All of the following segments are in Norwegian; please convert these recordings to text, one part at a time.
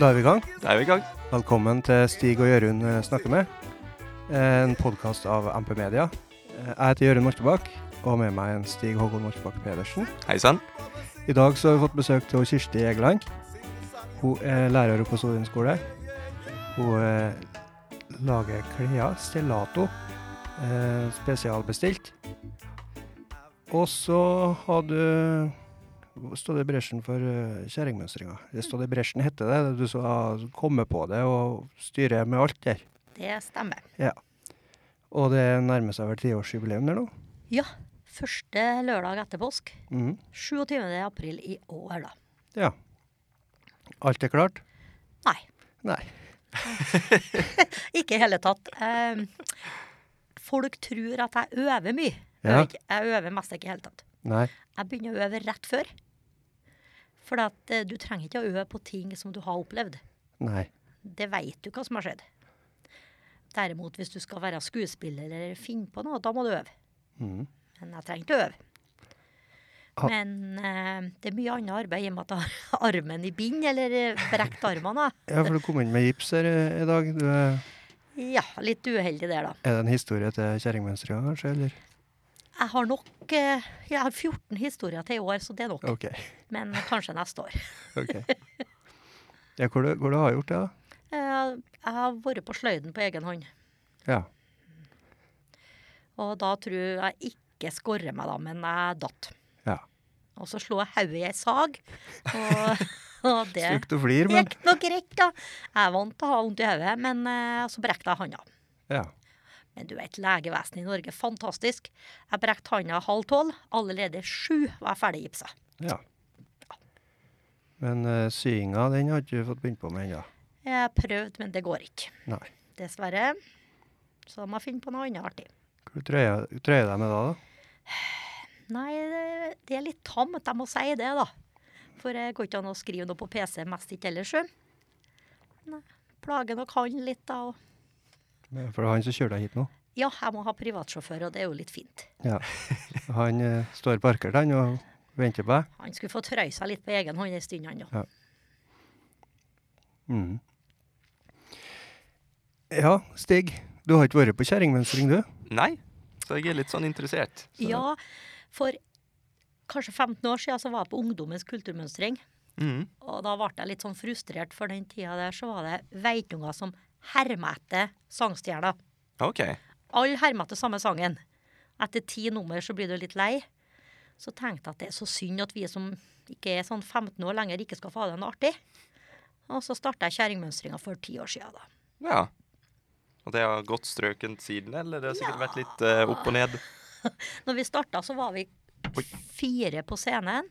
Da er vi i gang. Da er vi i gang. Velkommen til Stig og Jørund eh, snakker med. Eh, En podkast av MP Media. Eh, Jeg heter Jørund Mortebakk, og med meg er en Stig Håkon Mortebakk Pedersen. Hei sann. I dag så har vi fått besøk av Kirsti Egeland. Hun er lærer på Solund skole. Hun eh, lager klær, stellato, eh, spesialbestilt. Og så hadde stått i bresjen for eh, kjerringmønstringa. Det stod i bresjen heter det, det du skal komme på det og styre med alt der. Det stemmer. Og det nærmer seg vel tiårsjubileum der nå. Ja. Første lørdag etter påsk. Mhm. 27. april i år, da. Ja. Alt er klart? Nei, Nei. ikke i hele tatt. Eh, folk tror at jeg øver mye. Jeg, Ja. vet ikke, jeg øver mest ikke i hele tatt. Nei. Jeg begynner å øve rett før. For at eh, du trenger ikke å øve på ting som du har opplevd. Nei. Det veit du hva som har skjedd. Derimot, hvis du skal være skuespiller eller finne på noe, da må du øve. Mhm. Men jeg trengte å øve. Ha- Men eh, det er mye annet arbeid i og med at jeg har armen i bind, eller eh, brekt armene. da. Ja, for du kom inn med gips her eh, i dag. Du, eh, Ja, litt uheldig der, da. er det en historie til kjerringmønstringa, kanskje? Eller? Jeg har nok eh, Jeg har 14 historier til i år, så det er nok. OK. Men kanskje neste år. ok. Ja, hvor, du, hvor du har gjort det, da? Eh, jeg har vært på sløyden på egen hånd, Ja. og da tror jeg ikke skorrer meg, da, men jeg datt. ja. Og så slo jeg hodet i ei sag, og, og det Stygt å flire, men gikk nå greit, da. Jeg er vant til å ha vondt i hodet, men eh, så brekte jeg handa. ja. Men du vet, legevesenet i Norge, fantastisk. Jeg brekte handa halv tolv. Allerede sju var jeg ferdig gipsa. ja. Men eh, syinga, den har ikke du fått begynt på med ennå? Jeg prøvde, men det går ikke. Nei. Dessverre. Så må jeg finne på noe annet artig. Hva du trøyer du trøyer deg med da, da? Nei, det- det er litt tamt, jeg må si det, da. For det går ikke an å skrive noe på PC, mest ikke ellers, sjø. Nei, Plager nok han litt, da. og- Men For det er han som kjører deg hit nå? Ja, jeg må ha privatsjåfør, og det er jo litt fint. Ja. Han eh, står parkert, han, og venter på deg? Han skulle få trøye seg litt på egen hånd en stund, han jo. Mhm. Ja, Stig. Du har ikke vært på kjerringmønstring, du? Nei, så jeg er litt sånn interessert. Ja, for kanskje 15 år siden så var jeg på Ungdommens kulturmønstring. Mhm. Og da ble jeg litt sånn frustrert, for den tida der så var det veitunger som herma etter sangstjerna. OK. Alle herma etter samme sangen. Etter ti nummer så blir du litt lei. Så tenkte jeg at det er så synd at vi som ikke er sånn 15 år lenger, ikke skal få ha det noe artig. Og så starta jeg Kjerringmønstringa for ti år sia, da. Ja. Og det har gått strøkent siden, eller det har sikkert vært litt eh, opp og ned? Når vi starta, så var vi Oi. fire på scenen.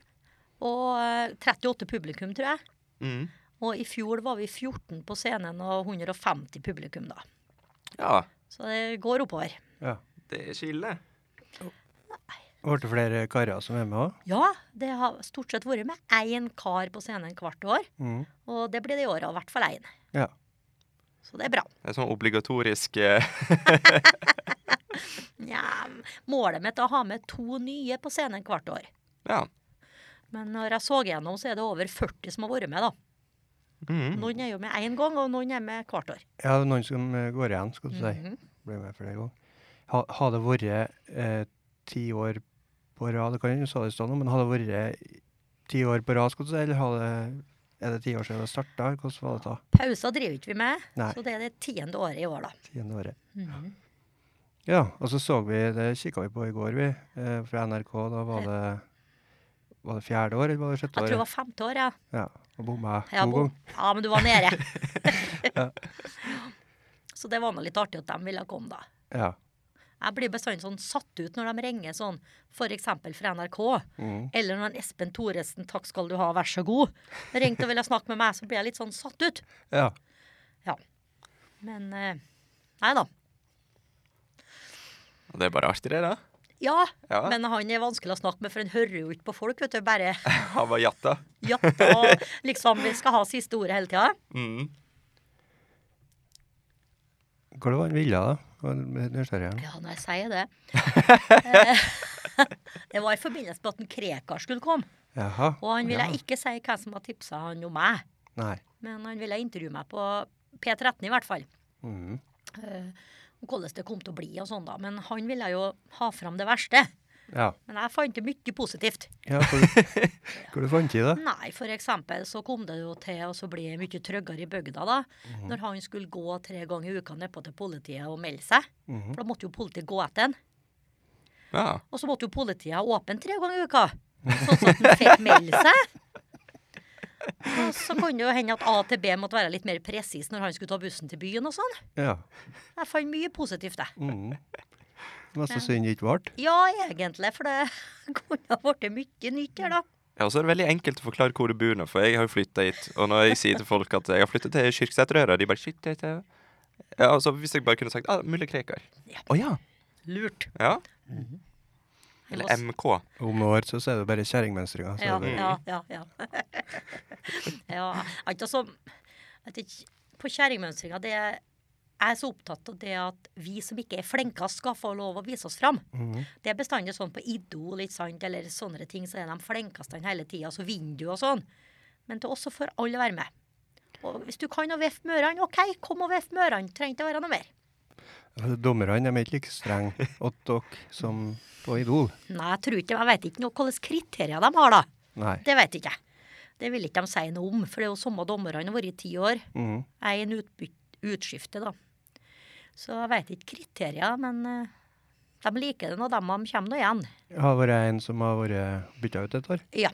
Og eh, 38 publikum, tror jeg. Mhm. Og i fjor var vi 14 på scenen og 150 publikum, da. Ja. Så det går oppover. Ja. Det er ikke ille. Ble det flere karer som er med òg? Ja, det har stort sett vært med én kar på scenen hvert år. Mm. Og det blir det i år, og i hvert fall én. Ja. Så det er bra. Det er sånn obligatorisk eh, Nja, målet mitt er å ha med to nye på scenen hvert år. Ja. Men når jeg så gjennom, så er det over 40 som har vært med, da. Mm. Mhm. Noen er jo med én gang, og noen er med hvert år. Ja, det er noen som eh, går igjen, skal du si. Mhm. Blir med flere ganger. Ha, har det vært eh, ti år på rad, det kan jeg jo sa det i stad nå, men har det vært eh, ti år på rad, skal du si, eller har det, er det ti år siden det starta? Hvordan var det da? Pauser driver ikke vi med, Nei. så det er det tiende året i år, da. Tiende året. Mhm. Ja, og så så vi, det kikka vi på i går, vi, eh, fra NRK. Da var det var det fjerde år, eller var det sjette Jeg tror det året? var femte år, ja. Ja, og bomma to Ja, bo- ganger. ja, men du var nede. Så det var nå litt artig at de ville komme, da. Ja. Jeg blir bestandig sånn satt ut når de ringer sånn, f.eks. fra NRK. Mm. Eller når en Espen Thoresen 'Takk skal du ha, vær så god' ringte og ville snakke med meg, så blir jeg litt sånn satt ut. ja. Men eh, nei da. Og Det er bare artig, det, da. Ja, Ja. men han er vanskelig å snakke med, for han hører jo ikke på folk, vet du. Bare Hava jatta. jatter og liksom vi skal ha siste ordet hele tida. Mhm. Hva var det han ville, da? Hva var det nysgjerrig her nå? Ja, når jeg sier det Eh, Det var i forbindelse med at en Krekar skulle komme, Jaha. og han ville ja. ikke si hvem som hadde tipsa han om meg. Nei. Men han ville intervjue meg på P13 i hvert fall. Mhm. eh, om hvordan det kom til å bli og sånn, da. Men han ville jo ha fram det verste. Ja. Men jeg fant det mye positivt. ja for, hva du fant i det? Nei, for eksempel så kom det jo til å så bli mye tryggere i bygda da. Mhm. Når han skulle gå tre ganger i uka nedpå til politiet og melde seg. Mhm. For da måtte jo politiet gå etter han. Ja. Og så måtte jo politiet ha åpent tre ganger i uka. Sånn at han fikk melde seg. Og så kan det jo hende at A til B måtte være litt mer presis når han skulle ta bussen til byen og sånn. Ja. Jeg fant mye positivt, jeg. Mhm. Det var så synd det ikke vart. Ja, egentlig, for det kunne ha blitt mye nytt her, da. ja, og så er det veldig enkelt å forklare hvor du bor nå, for jeg har jo flytta hit. Og når jeg sier til folk at jeg har flytta til Kyrksæterøra, de bare Shit, det er det». ja, altså, Hvis jeg bare kunne sagt ah, Mulle Krekar. Ja. Å ja. Lurt. ja. Jeg må Eller s- MK. Om noen år så er det bare kjerringmønstringa. så er Ja, det- ja, ja. ja. ja altså, som- vet ikke, på kjerringmønstringa det er jeg er så opptatt av det at vi som ikke er flinkest, skal få lov å vise oss fram. Mhm. Det er bestandig sånn på Idol ikke sant, eller sånne ting, så er de flinkeste hele tida, så vinner du og sånn. Men til oss så får alle være med. Og hvis du kan å veffe mørene, OK, kom og veff mørene. Trenger ikke å være noe mer. Altså, Dommerne de er ikke like strenge åt dere som på Idol. Nei, jeg tror ikke, jeg vet ikke noe, hvilke kriterier de har, da. Nei. Det vet ikke jeg. Det vil ikke de si noe om, for det er jo samme dommerne har vært i ti år. Mhm. Jeg er en utbyt- utskifte, da. Så jeg vet ikke kriterier, men eh, de liker det når de de kommer nå igjen. Har vært en som har vært bytta ut et år? Ja.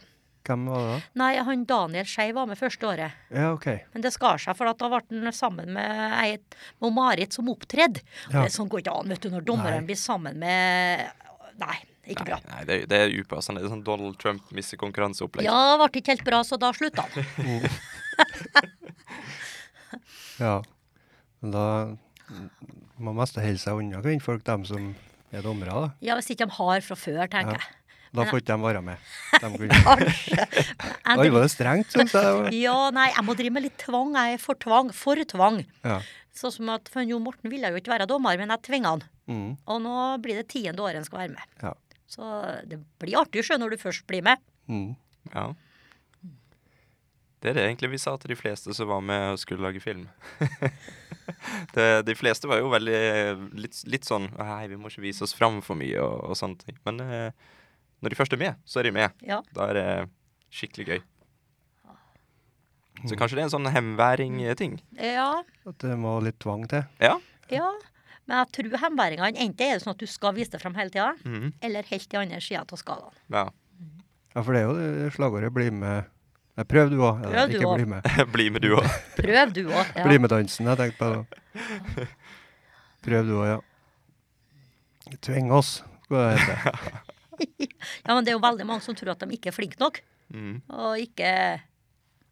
Hvem var det da? Nei, han Daniel Skei var med første året, Ja, OK. men det skar seg, for at da ble han sammen med, ei, med Marit som opptredde. Ja. Det Sånn går ikke an, vet du, når dommerne Nei. blir sammen med Nei, ikke Nei, bra. nei det, er, det er upassende. Det er sånn Donald Trump mister konkurranseopplegg. Ja, ble ikke helt bra, så da slutta han. Ja. Men da må man mest holde seg unna kvinnfolk, dem som er dommere. Ja, hvis ikke de har fra før, tenker jeg. Da Da får ikke de være med. De kunne... Kanskje. Men Oi, jeg var det strengt, syns jeg. Ja, nei, jeg må drive med litt tvang. Jeg er for tvang. For tvang. Ja. Sånn som at for Jo Morten ville jo ikke være dommer, men jeg tvinga han. Mm, Og nå blir det tiende året han skal være med. ja. Så det blir artig sjø når du først blir med. Mm. Ja. Det er det egentlig vi sa til de fleste som var med og skulle lage film. det, de fleste var jo veldig litt, litt sånn Nei, vi må ikke vise oss fram for mye og, og sånne ting. Men eh, når de først er med, så er de med. Ja. Da er det skikkelig gøy. Så kanskje det er en sånn hemværing-ting. Ja. At det må litt tvang til. Ja. ja. Men jeg tror hemværingene enten er det sånn at du skal vise deg fram hele tida, Mm. Mhm. eller helt til andre sida av skalaen. ja. Ja, for det er jo det slagordet 'bli med'. Nei, prøv du òg. Prøv du Ikke også. bli med. Bli med, du òg. Prøv du òg. Ja. Bli med-dansen jeg tenkte på. da. Prøv du òg, ja. Tving oss, skal det hete. ja, men det er jo veldig mange som tror at de ikke er flinke nok. Mm. Mhm. Og ikke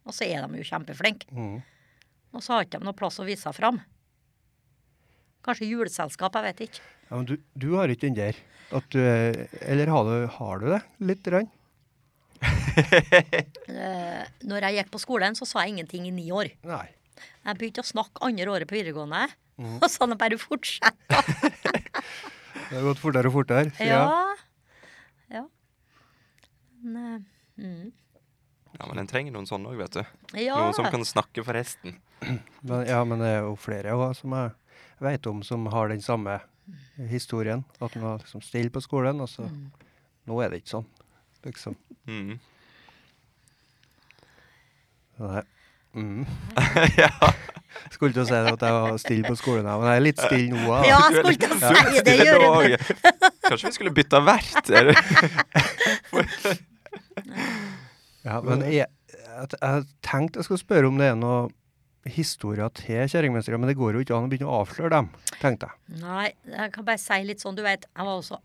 Og så er de jo kjempeflinke. Mm. Og så har ikke de noe plass å vise seg fram. Kanskje juleselskap, jeg vet ikke. Ja, men du, du har ikke den der. At du, er- eller har du, har du det? Litt? Rann? Eh, når jeg gikk på skolen, så sa jeg ingenting i ni år. Nei. Jeg begynte å snakke andre året på videregående. Mhm. Og sånn bare fortsette. Det har gått fortere og fortere. siden- Ja. ja. Men, eh, mm. Ja, men en trenger noen sånne òg, vet du. eh, ja. Noen som sånn kan snakke for resten. Men, ja, men det er jo flere også, som jeg vet om som har den samme historien. At man var liksom stille på skolen, og så Mm. Nå er det ikke sånn, liksom. Mhm. Nei. Mm. ja. Skulle ikke si det at jeg var stille på skolen, ja, men jeg er litt stille nå. da. ja, jeg skulle til å si det. Stille Gjør nå det. også. Kanskje vi skulle bytta vert? er det? Ja, men jeg, jeg, jeg tenkte jeg skulle spørre om det er noe historier til kjerringmønstre, men det går jo ikke an å begynne å avsløre dem, tenkte jeg. Nei, jeg kan bare si litt sånn, du vet. Jeg var også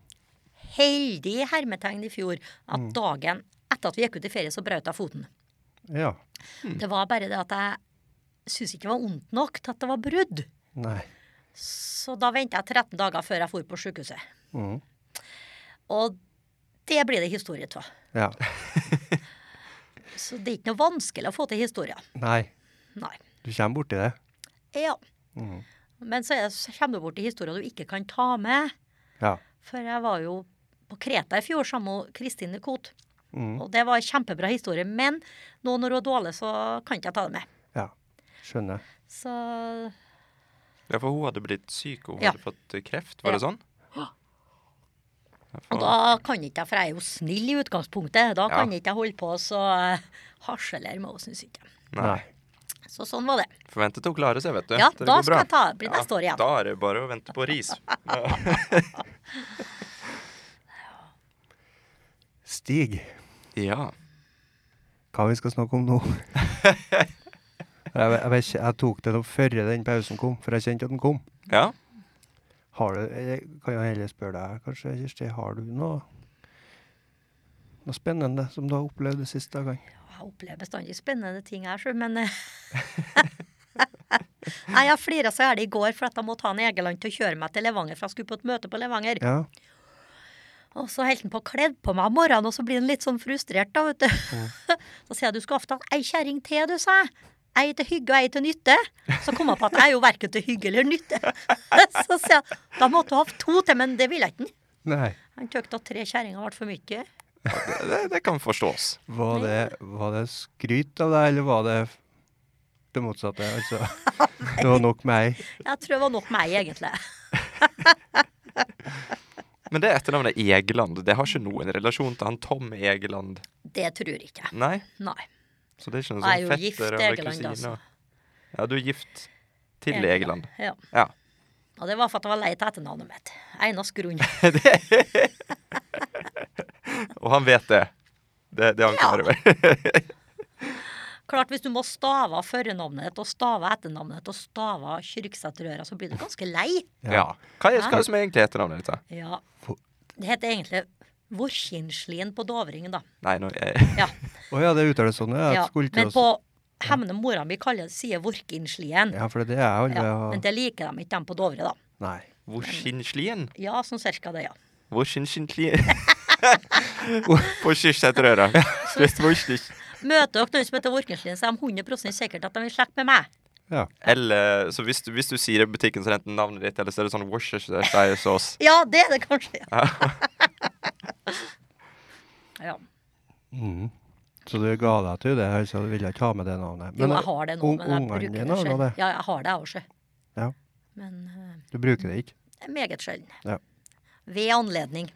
heldig i hermetegn i fjor at dagen etter at vi gikk ut i ferie, så brøt jeg foten. Ja. Det var bare det at jeg syntes ikke det var vondt nok til at det var brudd. Nei. Så da venta jeg 13 dager før jeg for på sykehuset. Mm. Og det blir det historie av. Ja. Så det er ikke noe vanskelig å få til historier. Nei. Nei. Du kommer borti det. Ja. Mhm. Mm. Men så, er, det- så kommer du borti historier du ikke kan ta med. Ja. For jeg var jo på Kreta i fjor sammen med Kristine Koht. Mm. Mhm. Og det var en kjempebra historie. Men nå når hun er dårlig, så kan ikke jeg ta det med. Ja. Skjønner. Så Ja, for hun hadde blitt syk, og hun Ja. hadde fått eh, kreft, var det sånn? Ja, Og faen. da kan ikke jeg, for jeg er jo snill i utgangspunktet, da Ja. kan ikke jeg holde på så eh, harselere med henne, syns ikke jeg. Nei. Så sånn var det. Forventet å klare seg, vet du. Ja, Det da går skal bra. jeg ta opp i neste år igjen. Da er det bare å vente på ris. Stig, ja. hva vi skal snakke om nå? jeg, vet- jeg, vet ikke, jeg tok det opp før den pausen kom, for jeg kjente at den kom. Ja. Har du, jeg kan jo heller spørre deg, kanskje, Kirsti, har du noe, noe spennende som du har opplevd de siste dagene? Jeg opplever bestandig spennende ting her, sjø, men eh, Nei, Jeg flira så gærent i går for at jeg måtte ha en Egeland til å kjøre meg til Levanger, for jeg skulle på et møte på Levanger. Ja, Og så holdt han på å kledde på meg om morgenen, og så blir han litt sånn frustrert, da, vet du. Så sier jeg du skal ha hatt ei kjerring til, du, sa jeg. Ei til hygge og ei til nytte. Så kom jeg på at jeg er jo verken til hygge eller nytte. Så sier jeg da måtte du ha hatt to til, men det ville jeg ikke. nei. Han tykte at tre kjerringer ble for mye. Det, det, det kan forstås. Var Nei. det, var det skryt av deg, eller var det f- det motsatte? Altså, det var nok meg. Jeg tror det var nok meg, egentlig. Men det etternavnet Egeland, det har ikke noen relasjon til han Tom Egeland. Det tror jeg ikke. Nei, Nei. så det er ikke noen Jeg er jo sånn gift fetter eller Egeland, kusine. altså. Ja, du er gift til Egeland. Ja. Ja. Og det var for at jeg var lei av etternavnet mitt. Eneste grunn. Og han vet det. Det, det er han Ja. klar over. Klart, hvis du må stave av fornavnet ditt og stave av etternavnet ditt og stave av Kyrksæterøra, så blir du ganske lei. ja. Hva er, hva er det som er egentlig etternavnet ditt? da? Ja. For- Det heter egentlig Vorkinslien på Dovringen, da. Nei, nå jeg, Ja. Å ja, det uttales sånn. ja. Ja, jeg skulle til Men å s- på Hemne mora mi kaller det sier Vorkinslien. ja, for det er det jeg aldri Ja. har Men det liker de ikke, dem på Dovre, da. Nei. Vorsinslien? Ja, sånn cirka det, ja. Vorsinslien? På Kyrksæterøra. Vorsinsli- Møter dere noen som heter Vorkinslien, så er de 100 sikkert at de vil slekte med meg. Ja. Eller så hvis du, hvis du sier det i butikken, så er det enten navnet ditt, eller så er det sånn Worcestershire-sauce. Ja, det er det kanskje. Ja. ja. Mhm. Så du ga deg til det, altså du ville ikke ha med det navnet. Jo, jeg har det nå, eh, men ung- jeg ungene bruker dine det har nå sjelden. det. Ja, jeg har det, jeg også. Ja. Men eh, Du bruker det ikke. det er meget sjelden. Ja. Ved anledning.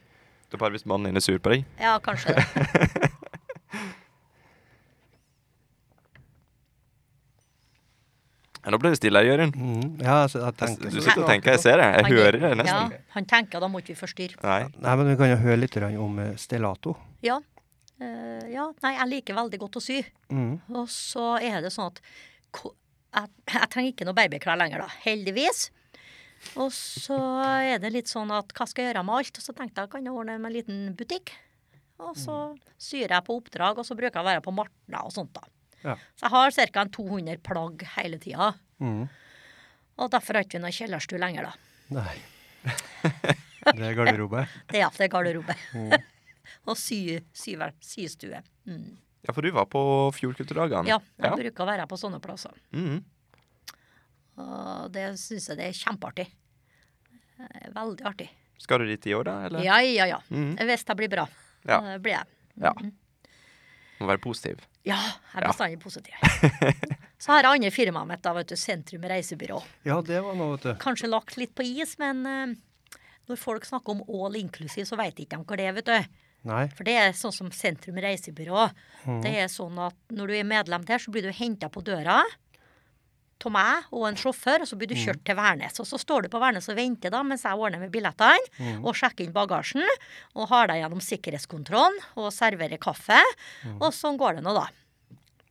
Det er bare hvis mannen din er sur på deg. Ja, kanskje det. Ja, nå ble det stille her, Jørund. Mhm. Ja, så jeg Jeg- tenker Altså, sånn. Du sitter og tenker, jeg ser det. Jeg Han- hører det nesten. Ja, han tenker da må ikke vi forstyrre. Nei. Nei, men vi kan jo høre litt grann om eh, stellato. Ja. Eh, ja, nei, jeg liker veldig godt å sy. Mhm. Og så er det sånn at ko- jeg, jeg trenger ikke noe babyklær lenger, da. Heldigvis. Og så er det litt sånn at hva skal jeg gjøre med alt? Og så tenkte jeg kan jeg ordne med en liten butikk. Og så syr jeg på oppdrag, og så bruker jeg å være på Martna og sånt, da. Ja. Så jeg har ca. 200 plagg hele tida. Mhm. Og derfor har ikke vi noe kjellerstue lenger, da. Nei. Det er garderobe. Det er iallfall garderobe. og sy, syver, systue. Mm. Ja, for du var på Fjordkulturdagene. Ja, jeg ja. bruker å være på sånne plasser. Mhm. Og det syns jeg det er kjempeartig. Eh, Veldig artig. Skal du dit i år, da? Eller? Ja, ja, ja. Mhm. Hvis jeg blir bra. Ja. Det blir jeg. Ja. Mm-hmm. Må være positiv. Ja, jeg er Ja. bestandig positiv. Så har jeg andre firmaet mitt, da, vet du, Sentrum Reisebyrå. Ja, det var noe, vet du. Kanskje lagt litt på is, men eh, når folk snakker om all inclusive, så veit ikke de hva det er, vet du. Nei. For det er sånn som Sentrum Reisebyrå. Det er sånn at når du er medlem der, så blir du henta på døra av meg og en sjåfør, og så blir du kjørt til Værnes. Og så står du på Værnes og venter da, mens jeg ordner med billettene, og sjekker inn bagasjen, og har deg gjennom sikkerhetskontrollen, og serverer kaffe. Og sånn går det nå, da.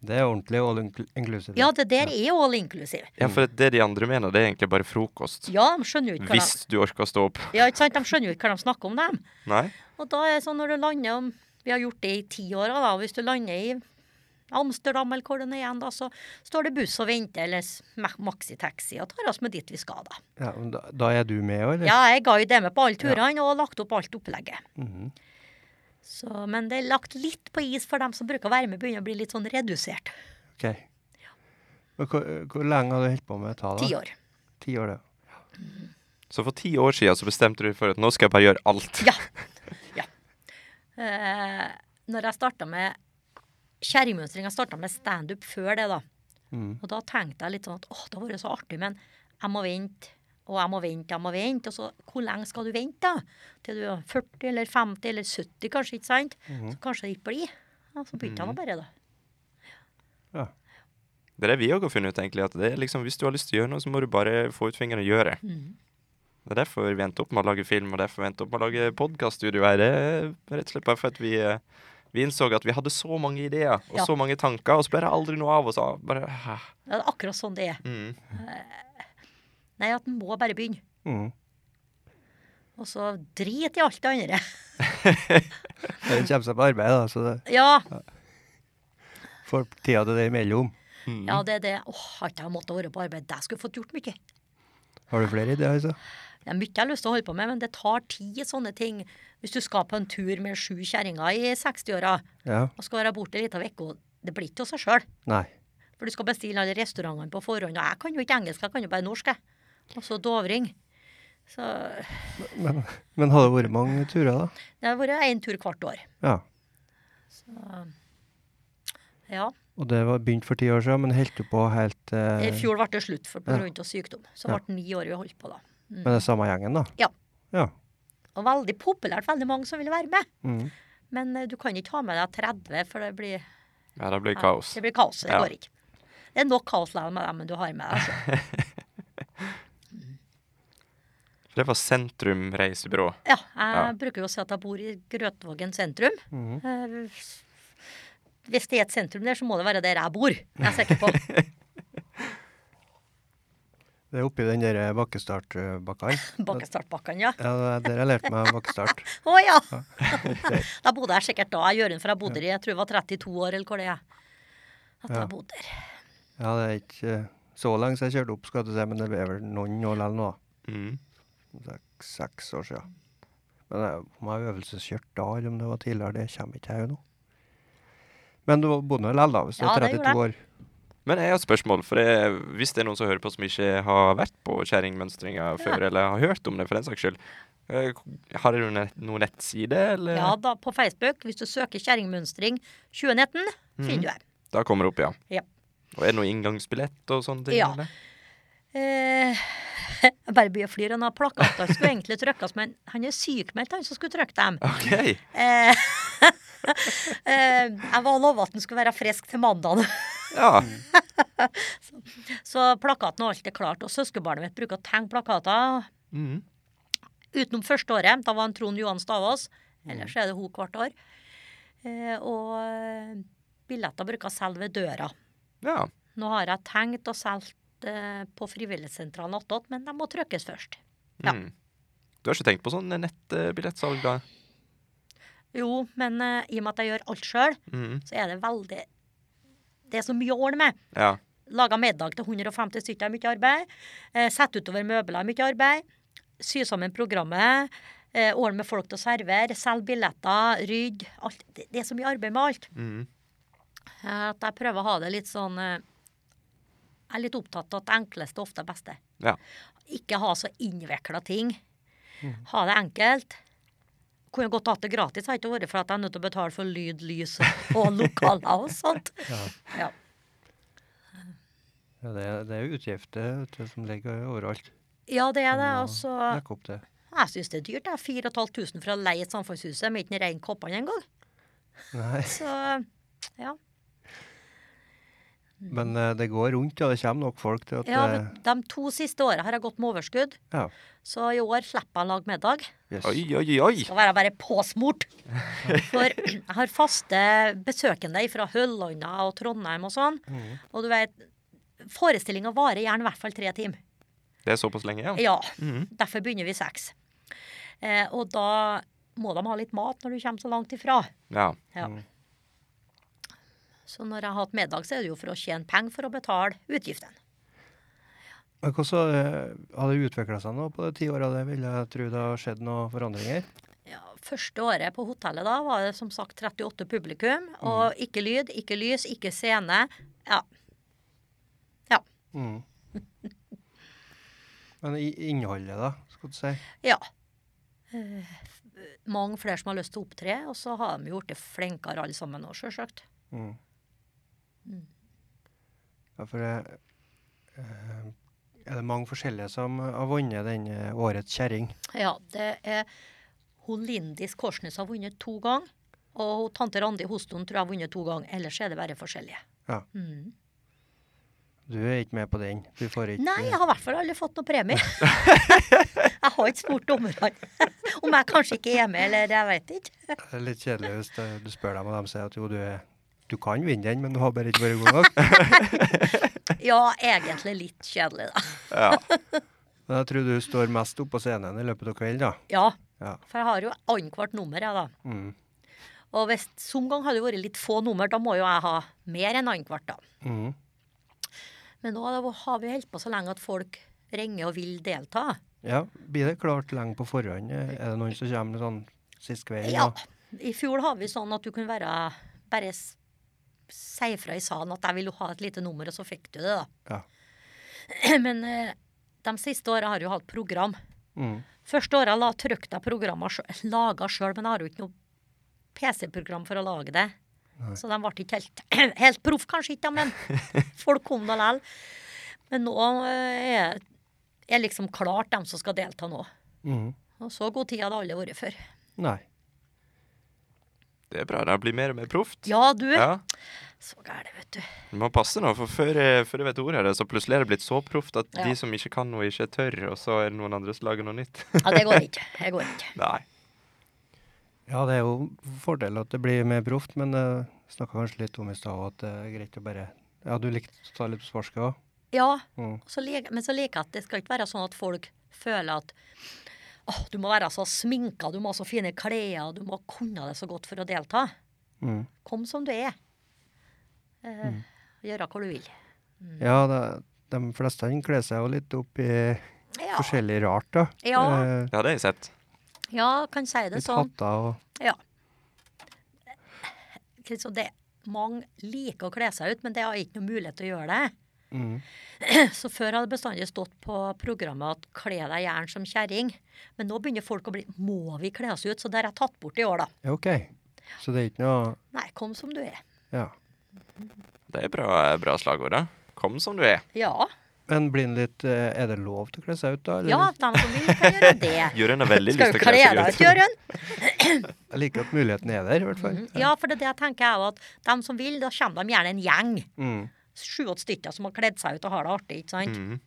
Det er ordentlig all incl- inclusive. Ja, det der er all inclusive. Ja, for det de andre mener, det er egentlig bare frokost. Ja, de skjønner jo ikke hva de, Hvis du orker å stå opp. ja, ikke sant? de, skjønner jo ikke hva de snakker om, dem. Nei? Og da er det sånn når du lander om Vi har gjort det i ti år, da. og Hvis du lander i Amsterdam eller hvor det nå er igjen, da, så står det buss og venter, eller s- ma- maxitaxi, og tar oss med dit vi skal, da. Ja, men da, da er du med, eller? Ja, Mhm. jeg ga jo det med på alle turene og har lagt opp alt opplegget. Så, men det er lagt litt på is for dem som bruker å være med, begynner å bli litt sånn redusert. Ok. Men hvor, hvor lenge har du holdt på med dette? Ti år. Ti år, ja. Så for ti år siden så bestemte du for at nå skal jeg bare gjøre alt. Ja. ja. Eh, når jeg starta med kjerringmønstring, jeg starta med standup før det, da. Mm. Og da tenkte jeg litt sånn at åh, det har vært så artig, men jeg må vente. Og jeg må vente, jeg må vente. Og så hvor lenge skal du vente, da? Til du er 40 eller 50 eller 70, kanskje, ikke sant? Så kanskje det ikke blir. Ja, så begynte jeg nå bare, da. Ja. Det er det vi òg har funnet ut, egentlig. At det er liksom, hvis du har lyst til å gjøre noe, så må du bare få ut fingeren og gjøre det. Mm. Det er derfor vi endte opp med å lage film, og derfor vi endte opp med å lage podkaststudio her. Det er rett og slett bare for at vi, eh, vi innså at vi hadde så mange ideer og Ja. så mange tanker, og så ble det aldri noe av oss. ah, Bare, hæ? Det er akkurat sånn det er. Eh, mm. Nei, at en må bare begynne. Mm. Og så drit i alt det andre. Den kommer seg på arbeid, da, så det Ja, får tida til det imellom. ja det er det. Åh, har ikke jeg måttet være på arbeid? Det skulle jeg fått gjort mye. Har du flere ideer, altså? Det er mye jeg har lyst til å holde på med, men det tar tid, sånne ting. Hvis du skal på en tur med sju kjerringer i 60-åra Ja. og skal være borte ei lita uke, det blir ikke av seg sjøl. Nei. For du skal bestille alle restaurantene på forhånd. Og jeg kan jo ikke engelsk, jeg kan jo bare norsk, jeg. Og så dovring. Så Men, men har det vært mange turer, da? det har vært én tur hvert år. Ja. Ja. Og det var begynt for ti år siden, men holdt du på helt I eh, fjor ble det slutt for Ja. pga. sykdom. Så ble det ni år vi holdt på, da. med den samme gjengen, da? Ja. Ja. Og veldig populært, veldig mange som ville være med. Mm. Men eh, du kan ikke ha med deg 30, for det blir Ja, det blir kaos. Det blir kaos. Det Ja. går ikke. Det er nok kaos likevel med dem du har med deg. altså. så. Det var Sentrum reisebyrå. Ja, jeg Ja. bruker jo å si at jeg bor i Grøtvågen sentrum. Mhm. Eh, Hvis det er et sentrum der, så må det være der jeg bor. Jeg er sikker på. Det er oppi den der bakkestartbakkene. Bakkestartbakkene, ja. Ja, det er der jeg lærte meg bakkestart. Å ja! da bodde jeg sikkert da. Jeg gjør den for jeg bodde der i jeg tror jeg var 32 år, eller hvor det er. At Ja. jeg bodde der. Ja, det er ikke eh, så lenge siden jeg kjørte opp, skal du si, men det er vel noen år eller noe. Mm. Det er seks år siden. Men jeg, om jeg har øvelseskjørt da, eller om det var tidligere, det kommer ikke jeg jo nå. Men du bodde nå likevel, da, hvis du Ja, er det gjorde 32 år. Men jeg har et spørsmål, for jeg, hvis det er noen som hører på som ikke har vært på kjerringmønstringa før, eller har hørt om det for den saks skyld, eh, har du nett- noen nettside, eller? Ja da, på Facebook, hvis du søker Kjerringmønstring 2019, finner du det. Da kommer det opp, ja. Ja. Og er det noe inngangsbillett og sånne ting? Ja. eller? Eh, jeg bare begynner å flire. Han har plakater som skulle egentlig trykkes, men han er sykmeldt, han som skulle trykke dem. OK. Eh, eh, jeg var lova at den skulle være frisk til mandag, Ja. så plakaten og alt er klart. Og søskenbarnet mitt bruker å tegne plakater Mm. utenom første året. Da var han Trond Johan Stavås. Ellers er det hun hvert år. Eh, og eh, billetter bruker jeg selge ved døra. Ja. Nå har jeg tenkt å selge eh, på Frivilligsentralen attåt, men de må trykkes først. Ja. Mm. Du har ikke tenkt på sånn nettbillettsalg, da? Jo, men eh, i og med at jeg gjør alt sjøl, Mm. så er det veldig Det er så mye å ordne med. Ja. Lage middag til 150 stykker er mye arbeid. Eh, Sette utover møbler er mye arbeid. Sy sammen programmet. eh, Ordne med folk til å servere. Selge billetter. Rydde. Alt. Det det er så mye arbeid med alt. Mm. eh, At jeg prøver å ha det litt sånn eh, Jeg er litt opptatt av at det enkleste ofte er beste. ja. Ikke ha så innvikla ting. Mm. Ha det enkelt. Kunne godt hatt det gratis, hadde det ikke vært for at jeg er nødt til å betale for lyd, lys og lokaler og sånt. Ja. Ja, det, er- det er jo utgifter vet du, som ligger overalt. ja, det er altså- det. Ja, Og så Dekke opp det. Jeg syns det er dyrt. Jeg er 4500 for å leie et samfunnshus. De er ikke rein koppene engang. Nei, Så ja. men eh, det går rundt, og det kommer nok folk til at ja eh, vet- de to siste åra har jeg gått med overskudd, Ja. så i år slipper jeg å lage middag. Yes. Oi, oi, oi. Skal være bare påsmurt. For jeg har faste besøkende fra Høllanda og Trondheim og sånn. Mhm. Og du vet, forestillinga varer gjerne i hvert fall tre timer. Det er såpass lenge, ja? Ja. Mm. Mhm. Derfor begynner vi seks. Eh, og da må de ha litt mat når du kommer så langt ifra. Ja. Ja. Så når jeg har hatt middag, så er det jo for å tjene penger for å betale utgiftene. Men hvordan eh, har det utvikla seg nå på de ti åra? Det Vil jeg tro det har skjedd noen forandringer? Ja, første året på hotellet da var det som sagt 38 publikum, og ikke lyd, ikke lys, ikke scene. Ja. Ja. Mm. Men i innholdet, da, skal du si? ja. Eh, mange flere som har lyst til å opptre, og så har de gjort det flinkere alle sammen nå, sjølsagt. Mm. Ja, for det eh, er det mange forskjellige som har vunnet den eh, årets kjerring. Ja, det er hun Lindis Korsnes har vunnet to ganger. Og hun tante Randi Hoston tror jeg har vunnet to ganger. Ellers er det bare forskjellige. Ja. Mm. Du er ikke med på den. Du får ikke Nei, jeg har i hvert fall aldri fått noe premie. jeg har ikke spurt dommerne. Om jeg kanskje ikke er med, eller jeg vet ikke. Det er litt kjedelig hvis eh, du spør dem, og de sier at jo, du, er, du kan vinne den, men du har bare ikke vært god nok. Ja, egentlig litt kjedelig, da. Ja. Men jeg tror du står mest opp på scenen i løpet av kvelden, da. Ja, Ja. for jeg har jo annethvert nummer, jeg, da. Mm. Og hvis som gang har det vært litt få nummer, da må jo jeg ha mer enn annethvert, da. Mm. Men nå har det- har vi holdt på så lenge at folk ringer og vil delta. Ja, Blir det klart lenge på forhånd? Eh, Er det noen som kommer sånn sist kveld? Ja. og- I fjor har vi sånn at du kunne være bare s- si fra i salen at jeg vil jo ha et lite nummer, og så fikk du det, da. Ja. Men eh, de siste åra har jeg jo hatt program. Mm. Første året la trykte jeg programmer sjø- laga sjøl, men jeg har jo ikke noe PC-program for å lage det. Nei. Så de ble ikke helt, helt proff, kanskje ikke, da, men folk kom da likevel. Men nå eh, er, er liksom klart dem som skal delta nå. Mm. Og så god tid hadde alle vært før. Nei. Det er bra. Det blir mer og mer proft. Ja, du. Ja. Så gæren, vet du. Du må passe nå, for før, eh, før jeg vet ordet av det, så plutselig er det blitt så proft at Ja. de som ikke kan noe, ikke tør, og så er det noen andre som lager noe nytt. Ja, det går ikke. Det går ikke. Nei. Ja, det er jo fordel at det blir mer proft, men jeg snakka kanskje litt om i stad også, at det er greit å bare Ja, du likte å ta litt på sparket òg? Ja, Mm. og så lik- men så liker jeg at det skal ikke være sånn at folk føler at åh, du må være så sminka, du må ha så fine klær, og du må kunne det så godt for å delta. Mm. Kom som du er. Eh, Gjøre hva du vil. Ja, det, de fleste kler seg jo litt opp i Ja, forskjellig rart, da. Ja. Eh, Ja, det har jeg sett. ja kan si det litt sånn. hatter og Ja. Så det, mange liker å kle seg ut, men det har ikke noe mulighet til å gjøre det. mm. Så før hadde det bestandig stått på programmet at 'kle deg gjerne som kjerring'. Men nå begynner folk å bli 'må vi kle oss ut'? Så det har jeg tatt bort i år, da. Ja, OK. Så det er ikke noe Nei, kom som du er. Ja. Det er bra, bra slagord, da. Kom som du er. Ja. Men blir den litt eh, Er det lov til å kle seg ut, da? eller? Ja, de som vil, kan gjøre det. Jørund har veldig Skal lyst du til å kle kle deg ut, seg ut. Jørund? Mm, Jeg liker at muligheten er der, i hvert fall. Ja, for det er det jeg tenker jeg òg, at de som vil, da kommer de gjerne en gjeng. Mm. Sju-åtte stykker som har kledd seg ut og har det artig, ikke sant. Mhm.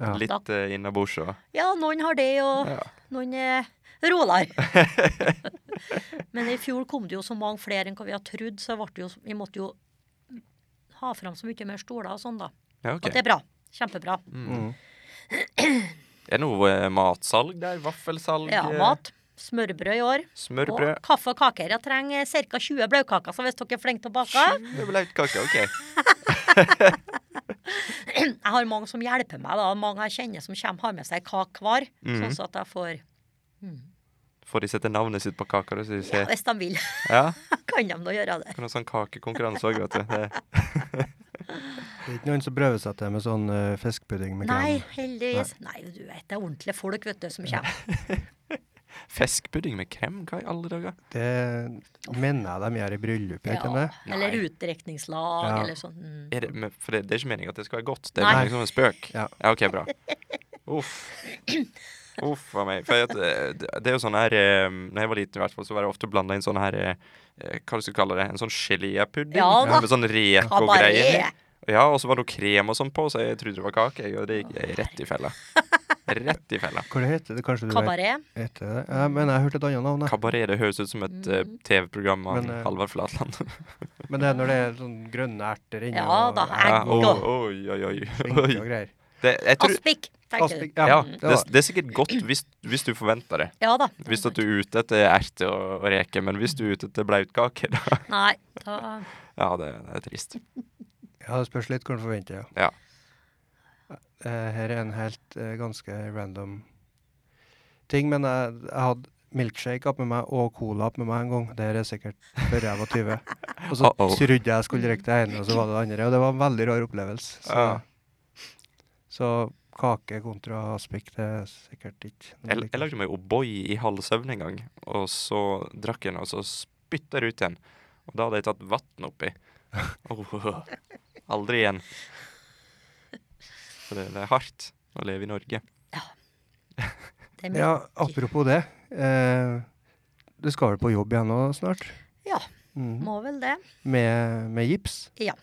Ja. Litt uh, innabords og Ja, noen har det, og Ja. noen er roligere. Men i fjor kom det jo så mange flere enn hva vi hadde trodd, så ble det jo, vi måtte jo ha fram så mye mer stoler og sånn, da. Ja, OK. Og det er bra. Kjempebra. Mm. Er det noe eh, matsalg der? Vaffelsalg? Ja, eh, mat. Smørbrød i år. Og Smørbrød? kaffe og kaker. Jeg trenger ca. 20 bløtkaker, så hvis dere er flinke til å bake Blautkaker, OK. Jeg har mange som hjelper meg, da. Mange jeg kjenner som kommer, har med seg kake hver. Mhm. Sånn så at jeg får Får de sette navnet sitt på kaka? da, så de ja, ser- Hvis de vil, Ja. kan de nå gjøre det. Kan ha sånn kakekonkurranse òg, vet du. Det, Det er ikke noen som prøver seg til med sånn eh, fiskepudding med Nei, krem? heldigvis. Nei, du vet, det er ordentlige folk, vet du, som kommer. Feskpudding med krem? Hva i alle dager? Det mener jeg de gjør i bryllup, gjør ikke Ja, det? eller Nei. utdrekningslag, Ja. eller sånn. Mm. Er det, men- for det, det er ikke meningen at det skal være godt. Det er Nei. meningen som en spøk. Ja. OK, bra. Uff. Uff a meg. For at, eh, det, det er jo sånn her eh, Når jeg var liten, i hvert fall, så var det ofte blanda inn sånn her eh, eh, Hva du skal kalle det? En sånn gelépudding Ja da. med sånn reke og Kabaret. greier. Ja, og så var det noe krem og sånn på, så jeg trodde det var kake. jeg, Og det gikk jeg rett i fella. Rett i fella. Hva det heter det? Kanskje du Kabaret. vet heter det? Ja, men jeg hørte et annet navn, jeg. Kabaret det høres ut som et eh, Mm. TV-program av Men, eh, Halvard Flatland. Men det er når det er sånn grønne erter inni Ja og da, ja, Ja, egg oi, og oi, oi. skinke oi. og greier. Det, jeg tror, aspik, tenker Aspik, du. ja, ja, det det, var det er sikkert godt hvis, hvis du forventer det. Ja da. Hvis at du er ute etter erte og, og reke, men hvis du er ute etter blautkake, da Nei, da Ja, det, det er trist. Ja, det spørs litt hva du forventer, ja. Ja. Eh, her er en helt eh, ganske random ting, men jeg, jeg hadde milkshake opp med meg og cola opp med meg en gang. Det her er sikkert før jeg var 20. Og så Uh-oh. trodde jeg jeg skulle drikke det ene, og så var det det andre. Og det var en veldig rar opplevelse. Så, Ja. så kake kontra aspik, det er sikkert ikke noe Jeg, like. jeg lagde meg O'boy i halv søvn en gang, og så drakk jeg den, og så spytta jeg det ut igjen. Og da hadde jeg tatt vann oppi. Åh, aldri igjen. For det, det er hardt å leve i Norge. Det er mye. Ja, apropos det. Eh, du skal vel på jobb igjen nå snart? Ja. Mhm. Må vel det. Med, med gips? Ja.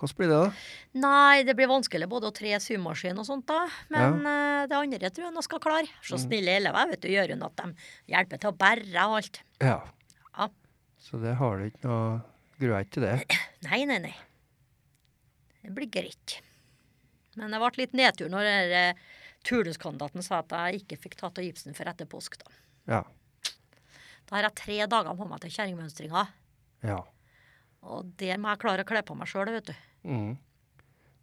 Hvordan blir det, da? Nei, det blir vanskelig både å tre symaskin og sånt, da. Men eh, det andre tror jeg nå skal klare. Så Mm. snille elever vet du, gjør jo at de hjelper til å bære og alt. Ja. Ja. Så det har du ikke noe Gruer deg ikke til det? Nei, nei, nei. Det blir greit. Men det ble litt nedtur når den der, eh, turnuskandidaten sa at jeg ikke fikk tatt av gipsen før etter påske. Da Ja. Da har jeg tre dager på meg til kjerringmønstringa, ja. og der må jeg klare å kle på meg sjøl, vet du. Mhm.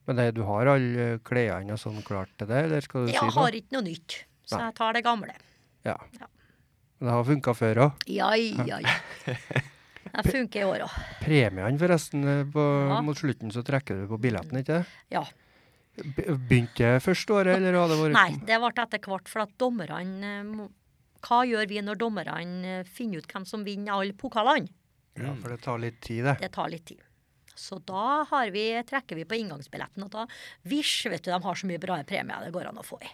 Men det, du har alle klærne og sånn klart til det, eller skal du Jeg si noe? har ikke noe nytt, så Nei. jeg tar det gamle. Ja. Ja. Det har funka før òg. Ja, ja, ja. Det funker i år òg. Premiene, forresten. eh, På, Ja. Mot slutten så trekker du på billetten, ikke det? Ja. Be- Begynte det første året, eller har det vært Nei, det ble etter hvert, for at dommerne eh, må- Hva gjør vi når dommerne eh, finner ut hvem som vinner alle pokalene? Ja, for det tar litt tid, det. Det tar litt tid. Så da har vi, trekker vi på inngangsbilletten, og da Visj, vet du, de har så mye bra premier det går an å få i.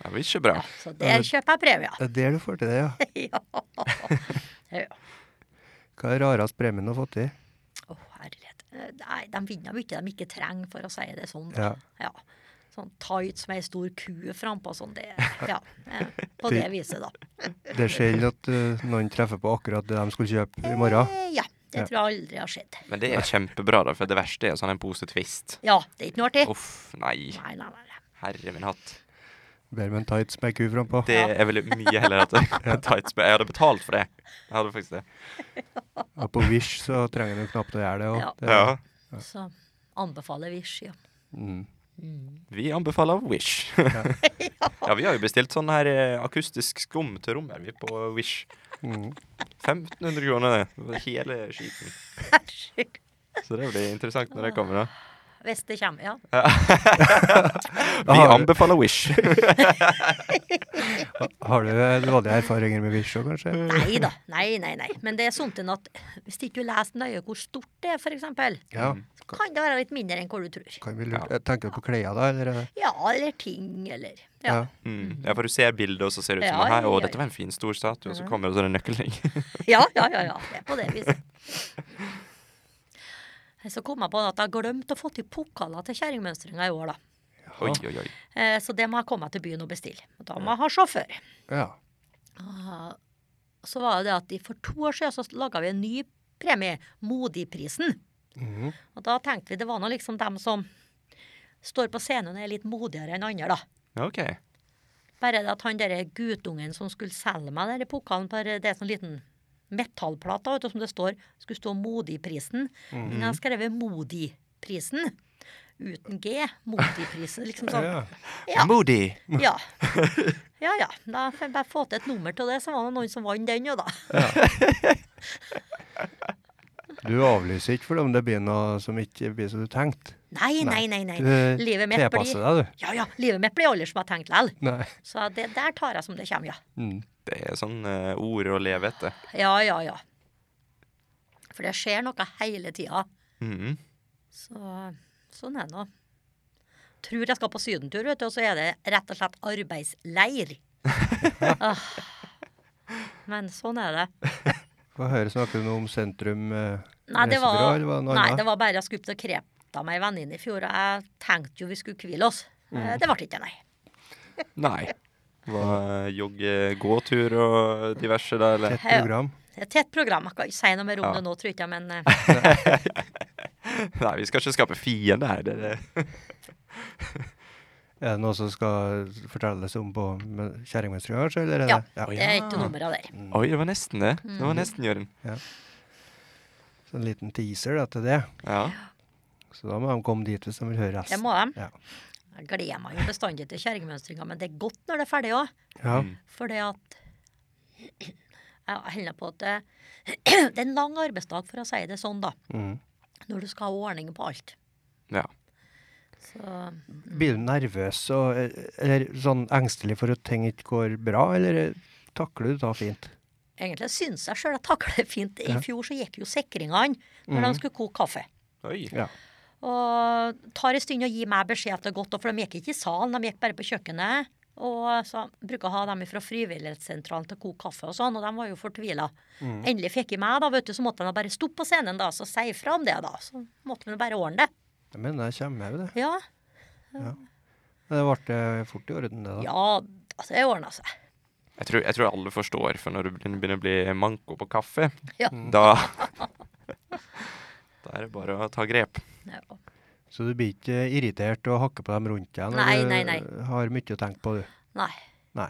Det er jo ikke bra. Ja, så der kjøper jeg premier. Det er der du får til det, ja. ja. ja. Hva er rarest premien du har fått i? Å, herlighet. Eh, Nei, de vinner mye de ikke trenger, for å si det sånn. Ja. da. Ja. Sånn tights med ei stor ku frampå sånn, det Ja. eh, På det viset, da. Det er sjelden at eh, noen treffer på akkurat det de skulle kjøpe i morgen. Eh, Ja. Det tror jeg aldri har skjedd. Men det er kjempebra, da, for det verste er sånn en pose Twist. Ja, det er ikke noe artig. Uff, nei. Nei, nei, nei. nei. Herre min hatt. Bedre med en tights med ei ku frampå. Det er vel mye heller at tights Jeg hadde betalt for det. Jeg hadde faktisk det. Og på Wish så trenger du knapt å gjøre Ja. det. Og det Ja. Så anbefaler Visj, ja. Mm. Vi anbefaler Wish. Ja, vi har jo bestilt sånn her eh, akustisk skum til rommet vi på Wish. Mm. 1500 kroner, det. Hele skiten. Herregud. Så det blir interessant når det kommer, da. Hvis det kommer, ja. Da Vi har- anbefaler Wish. Har du eh, dårlige erfaringer med Wish òg, kanskje? Nei da. Nei, nei, nei. Men det er sånt enn at hvis du ikke leser nøye hvor stort det er, f.eks., Ja. så kan det være litt mindre enn hva du tror. Kan vi lure. Tenker du på klær da, eller? er det- Ja, eller ting, eller Ja. Ja. Mm. Ja, for du ser bildet, og så ser det ut som Ja, ja, ja, Å, ja, dette var en fin, stor statue, og så kommer det sånn en nøkkelring. Ja, ja, ja, ja. Det er på det viset. Så kom jeg på at jeg har glemt å få til pokaler til kjerringmønstringa i år, da. Oi, oi, oi. Eh, Så det må jeg komme meg til byen og bestille. Og Da må jeg ha sjåfør. ja. Ah, Så var det det at i- for to år siden så laga vi en ny premie, Modigprisen. Mhm. Og da tenkte vi det var nå liksom dem som står på scenen og er litt modigere enn andre, da. OK. Bare det at han derre guttungen som skulle selge meg denne pokalen på det er sånn liten metallplate vet du, som det står, skulle stå Modigprisen. Men jeg har skrevet Modigprisen. Uten G. Modigprisen, liksom sånn. Ja. Ja. Moody. Ja. Ja ja. Da får jeg bare få til et nummer til det, så var det noen som vant den jo, da. Du avlyser ikke for om det blir noe som ikke blir som du tenkte. Nei, nei, nei. nei. Du Livet mitt tilpasser blir deg, du. ja, ja, livet mitt blir aldri som jeg tenkte likevel. Nei. Så det der tar jeg som det kommer, ja. Mm. Det er sånn eh, ord å leve etter. Ja, ja, ja. For det skjer noe hele tida. Mhm. Så sånn er det nå. Tror jeg skal på sydentur, vet du, og så er det rett og slett arbeidsleir. ah. Men sånn er det. Få høre, snakker du noe om sentrum eh, Nei, det var, Reisebyrå, eller var det noe nei, annet? det var bare jeg skulle til Kreta med ei venninne i fjor, og jeg tenkte jo vi skulle hvile oss. Mm. Eh, Det ble ikke det, nei. Nei. Hva, eh, jogge, gåtur og diverse der, eller? et program? Det er et tett program. Jeg kan ikke si noe mer om Ja. det nå, tror jeg ikke, men eh, Nei, vi skal ikke skape fiende her. Det, er det. Er det noe som skal fortelles om på med- kjerringmønstringa, kanskje? Eller er ja. det? Det er ikke noe nummer av det. Oi, det var nesten det. Det Mm. var nesten, Jørund. Så en liten teaser da, til det. Ja. Så da må de komme dit hvis de vil høre resten. Det må de. Ja. Jeg gleder meg jo bestandig til kjerringmønstringa, men det er godt når det er ferdig òg. Ja. Fordi at Jeg holder på at det, det er en lang arbeidsdag, for å si det sånn, da. Mm. Når du skal ha ordning på alt. ja. Så Blir du nervøs og eller, sånn engstelig for at ting ikke går bra, eller eh, takler du det da fint? egentlig syns jeg sjøl jeg takler det fint. I Ja. Mm. fjor så gikk jo sikringene når de skulle koke kaffe. Oi. Ja. Og tar en stund å gi meg beskjed at det er godt, for de gikk ikke i salen, de gikk bare på kjøkkenet. Og så bruker jeg å ha dem fra frivillighetssentralen til å koke kaffe og sånn, og de var jo fortvila. Mm. Endelig fikk jeg meg, da, vet du, så måtte de bare stoppe på scenen da, så si ifra om det, da. Så måtte de bare ordne det. Jeg mener jeg kommer med det. Ja, Men det ble eh, fort i orden, det, da. ja da, det ordna seg. Jeg tror, jeg tror alle forstår, for når du begynner begynner å bli manko på kaffe, Ja. da Da er det bare å ta grep. Ja. Så du blir ikke irritert og hakker på dem rundt deg når Nei, du eh, nei, nei. har mye å tenke på, du? Nei. Nei.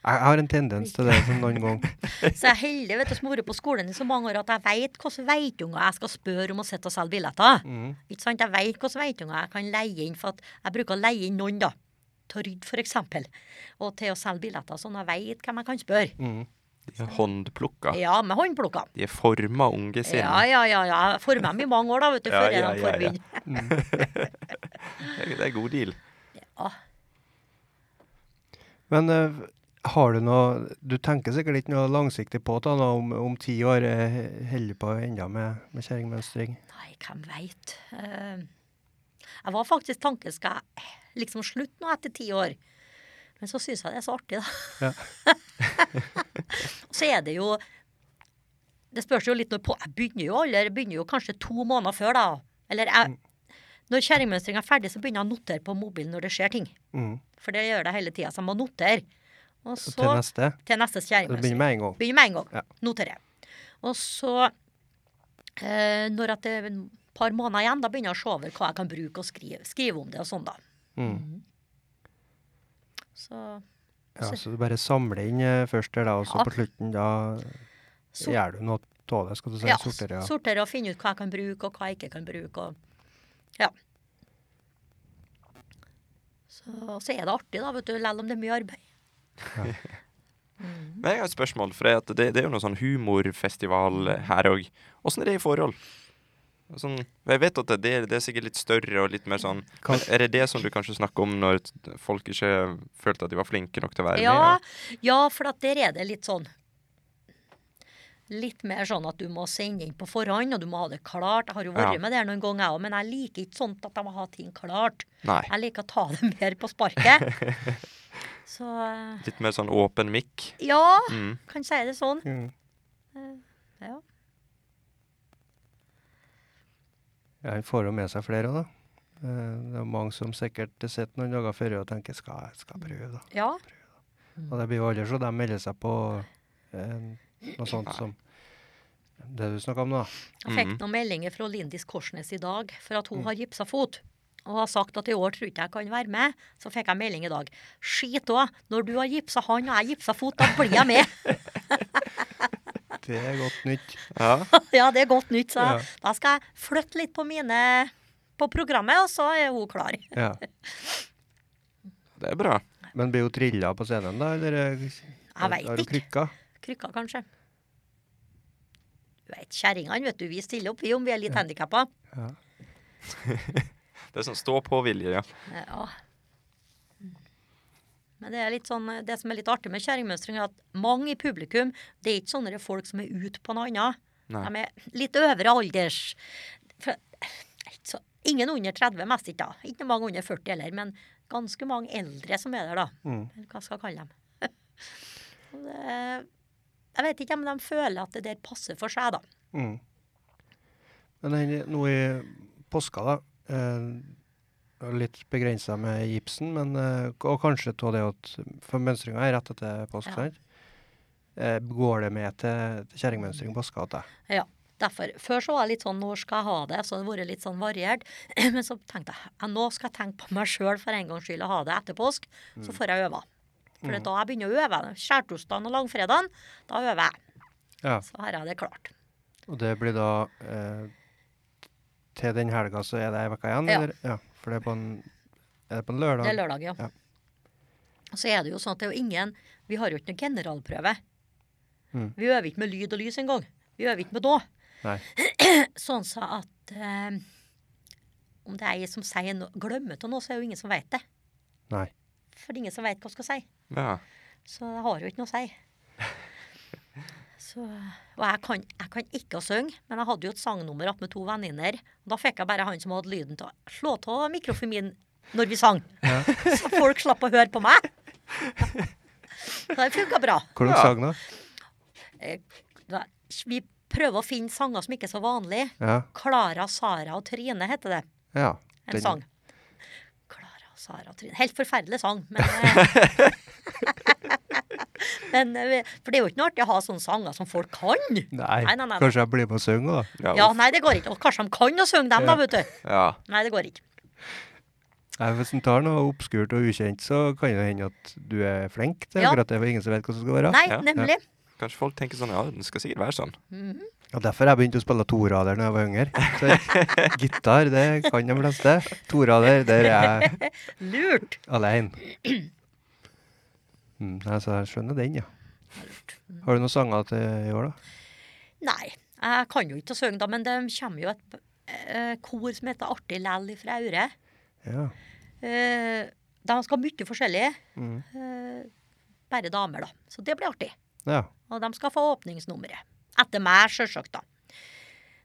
Jeg jeg har en tendens til det som noen ganger. Så jeg er heldig vet du, som har vært på skolen i så mange år at jeg vet hvilke veitunger jeg skal spørre om å sitte og selge billetter. Mm. Ikke sant? Jeg vet hvilke veitunger jeg kan leie inn, for at jeg bruker å leie inn noen da, til å rydde f.eks., og til å selge billetter, sånn at jeg vet hvem jeg kan spørre. Mm. De er håndplukka. Ja, med håndplukka. De er forma unge sinn. Ja, ja, ja. ja. Jeg får med dem i mange år, da, vet du, Ja, før ja, de ja, får ja. begynne. Det er- det er god deal. Ja. Men eh, har du noe Du tenker sikkert ikke noe langsiktig på det da, nå om, om ti år? eh, Holder på enda med, med kjerringmønstring? Nei, hvem veit. Jeg var faktisk tanken skal jeg liksom slutte nå etter ti år. Men så syns jeg det er så artig, da. så er det jo Det spørs jo litt når på Jeg begynner jo aldri, jeg begynner jo kanskje to måneder før, da. Eller Mm. jeg, når kjerringmønstringa er ferdig, så begynner jeg å notere på mobilen når det skjer ting. Mm. For det gjør jeg hele tida, så jeg må notere. Og så Til neste? til neste Du kjerringmønstring. begynner med en gang. Begynner med en gang. Ja. Noterer. Og så, eh, når at det er et par måneder igjen, da begynner jeg å se over hva jeg kan bruke og skrive, skrive om det og sånn, da. Mm. Så, Ja, så du bare samler inn eh, først der, da, og så Ja. på slutten da sor- gjør du noe av det, skal du si. ja, sorterer, ja. sortere og finne ut hva jeg kan bruke, og hva jeg ikke kan bruke. Og, ja. Så, så er det artig, da, vet du, selv om det er mye arbeid. Men jeg har et spørsmål, for det, at det, det er jo noe sånn humorfestival her òg. Åssen er det i forhold? Sånn, jeg vet at det, det er sikkert litt større og litt mer sånn Kan- Men er det det som du kanskje snakker om når t- folk ikke følte at de var flinke nok til å være Ja, med? ja, for at der er det litt sånn Litt mer sånn at du må sende inn på forhånd, og du må ha det klart. Jeg har jo vært Ja. med der noen ganger, jeg òg, men jeg liker ikke sånt at jeg må ha ting klart. Nei. Jeg liker å ta det mer på sparket. Så eh, Litt mer sånn åpen mikk. ja, Mm. kan si det sånn. Mm. Eh, Ja. Ja, Han får jo med seg flere òg, da. Eh, Det er mange som sikkert sitter noen dager før og tenker skal jeg skal jeg prøve, da. ja. Mm. Og det blir jo aldri så de melder seg på eh, noe sånt som det du snakka om nå. Jeg fikk noen meldinger fra Lindis Korsnes i dag for at hun har gipsa fot. Og har sagt at i år tror ikke jeg kan være med. Så fikk jeg melding i dag. Skit òg! Når du har gipsa han og jeg gipsa fot, da blir jeg med! Det er godt nytt. Ja. Ja, det er godt nytt, så Ja. da skal jeg flytte litt på mine på programmet, og så er hun klar. Ja. Det er bra. Men blir hun trilla på scenen, da? Eller eh, har vet har hun ikke. krykka? Krykka, kanskje. Du vet, Kjerringene, vet du, vi stiller opp, vi, om vi er litt handikappa. Det er sånn stå på-vilje, ja. Ja. Men det, er litt sånn, det som er litt artig med kjerringmønstring, er at mange i publikum det er ikke sånne folk som er ute på noe annet. Nei. De er litt øvre alders. For, eh, ikke så, ingen under 30, mest ikke. da. Ikke mange under 40 heller, men ganske mange eldre som er der, da. Mm. Eller hva skal jeg kalle dem. Og det- jeg vet ikke om de føler at det der passer for seg, da. Mm. Men den- nå i påska, da. Eh, og litt begrensa med gipsen, men, eh, k- og kanskje av det at For mønstringa er rett etter påske, Ja. sant? Eh, går det med til, til kjerringmønstring påska til deg? Ja, derfor. Før så var jeg litt sånn når skal jeg ha det? Så det har vært litt sånn variert. Men så tenkte jeg ja, nå skal jeg tenke på meg sjøl for en gangs skyld og ha det etter påsk. Så får jeg øve. For det er da jeg begynner å øve. Skjærtorsdagen og langfredagen, da øver jeg. Ja. Så har jeg det klart. Og det blir da eh, Til den helga så er det ei uke igjen, Ja. eller? Ja. For det er på en, er det på en lørdag? Det er lørdag, ja. Ja. Og så er det jo sånn at det er jo ingen Vi har jo ikke noen generalprøve. Mm. Vi øver ikke med lyd og lys engang. Vi øver ikke med da. Nei. Sånn sa at eh, om det er ei som sier no glemmer av noe, så er det jo ingen som veit det. Nei. For det er ingen som veit hva hun skal si. ja. Så det har jo ikke noe å si. Så, og jeg kan, jeg kan ikke å synge, men jeg hadde jo et sangnummer opp med to venninner. Og da fikk jeg bare han som hadde lyden til å slå av mikrofonen når vi sang. Ja. Så folk slapp å høre på meg. Så det funka bra. Hvor dere Ja. sang da? Eh, da- Vi prøver å finne sanger som ikke er så vanlige. Ja. Klara, Sara og Trine heter det. ja. En Den- sang. Klara, Sara og Trine. Helt forferdelig sang, men eh, Men, eh, for det er jo ikke noe artig å ha sånne sanger som folk kan. Nei. Nei, nei, nei. Kanskje jeg blir med og synger da. Ja, Ja, uff. nei, det går ikke. Og kanskje de kan å synge dem, da, vet du. ja. Nei, det går ikke. Nei, hvis en tar noe oppskurt og ukjent, så kan det hende at du er flink til Ja. akkurat det, for ingen som vet hva som skal være. Nei, Ja, ja. nemlig. Kanskje folk tenker sånn Ja, den skal sikkert være sånn. Og derfor har jeg begynt å spille torader når jeg var yngre. Så gitar, det kan de fleste. Torader, der er jeg Lurt. alene. Mm, altså, jeg skjønner den, ja. Har du noen sanger til i år, da? Nei, jeg kan jo ikke å synge, da, men det kommer jo et eh, kor som heter Artig Læll fra Aure. Ja. Eh, de skal ha mye forskjellig. Mm. Eh, bare damer, da. Så det blir artig. ja. Og de skal få åpningsnummeret. Etter meg, sjølsagt, da.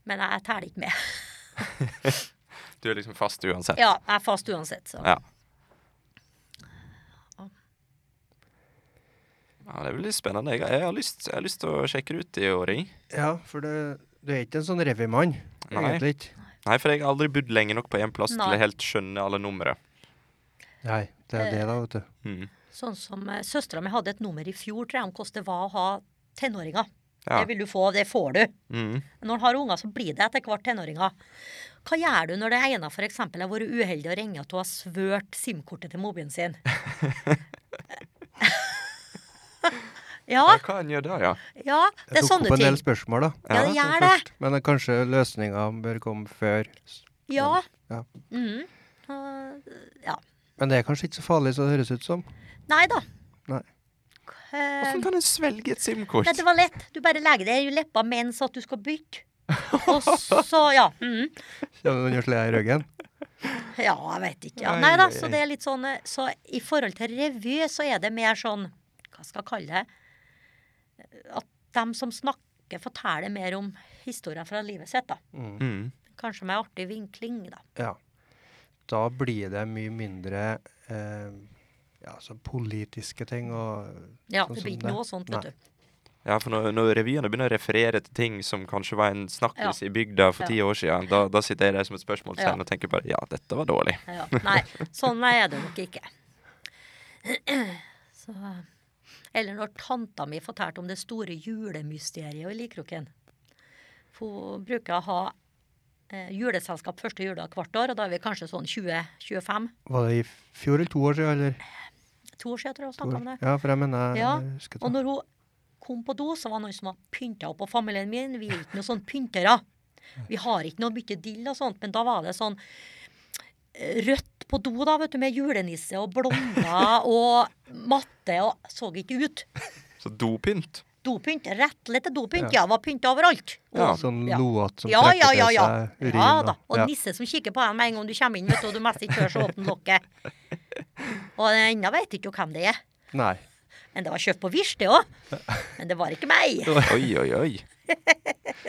Men jeg teller ikke med. Du er liksom fast uansett. Ja, jeg er fast uansett, så. Ja. Ja, Det er veldig spennende. Jeg, jeg, har lyst, jeg har lyst til å sjekke det ut i år. jeg. ja, for det, du er ikke en sånn revymann, Nei. egentlig ikke. Nei, for jeg har aldri bodd lenge nok på én plass Nei. til jeg helt skjønner alle numre. Nei, det er det, da, vet du. Mm. Sånn som uh, søstera mi hadde et nummer i fjor, tror jeg, om hvordan det var å ha tenåringer. Ja. Det vil du få, det får du. Mm. Når en har unger, så blir det etter hvert tenåringer. Hva gjør du når det ene f.eks. har vært uheldig og ringer at du har svørt SIM-kortet til mobilen sin? ja, Ja, hva en gjør da, ja. ja, det er tok opp sånne en del ting. spørsmål, da. Ja, det sånn gjør det. først. Men eh, kanskje løsninga bør komme før. Ja. Ja. Mm. Uh, ja. Men det er kanskje ikke så farlig som det høres ut som. Nei da. Nei. Eh, Hvordan kan en svelge et SIM-kort? nei, det var lett. Du bare legger det i leppa mens at du skal bytte. Og så, ja. Mm. Kjenner du den sleda i ryggen? Ja, jeg vet ikke. Ja. Ai, Nei da, ai, så ai. det er litt sånn eh, Så i forhold til revy, så er det mer sånn Hva skal jeg kalle det? At dem som snakker, forteller mer om historier fra livet sitt, da. Mm. Kanskje med artig vinkling, da. Ja. Da blir det mye mindre eh, ja, så politiske ting og Ja, det Sånn som blir ikke det. noe sånt, Nei. vet du. Ja, for når, når revyene begynner å referere til ting som kanskje var en snakkis i bygda for Ja. ti år siden, da, da sitter jeg der som et spørsmålstegn Ja. og tenker bare ja, dette var dårlig. Ja, nei, sånn er det nok ikke. Så, eller når tanta mi fortalte om det store julemysteriet i Likroken. For Hun bruker å ha eh, juleselskap første jula hvert år, og da er vi kanskje sånn 20-25. Var det i fjor eller to år siden? Eller? To år siden, tror jeg hun To år. snakka om det. Ja, for jeg mener jeg Ja, husker Og det. når hun kom på do, så var det noen som hadde pynta opp på familien min. Vi er ikke noen sånne pyntere. Vi har ikke noe mye dill og sånt, men da var det sånn eh, rødt på do, da, vet du, med julenisse og blonder og matte og så ikke ut. Så dopynt. Dopynt. Rettelig til dopynt. Ja, var pynta overalt. Ja. Sånn Ja. loat som Ja, trekker ja, ja, ja. til seg urin. ja da. Og ja. nisse som kikker på deg med en gang du kommer inn, vet du, og du mest ikke tør å åpne lokket. Og den ennå vet ikke hvem det er. Nei. Men det var kjøpt på Wish, det òg. Men det var ikke meg. Oi, oi, oi.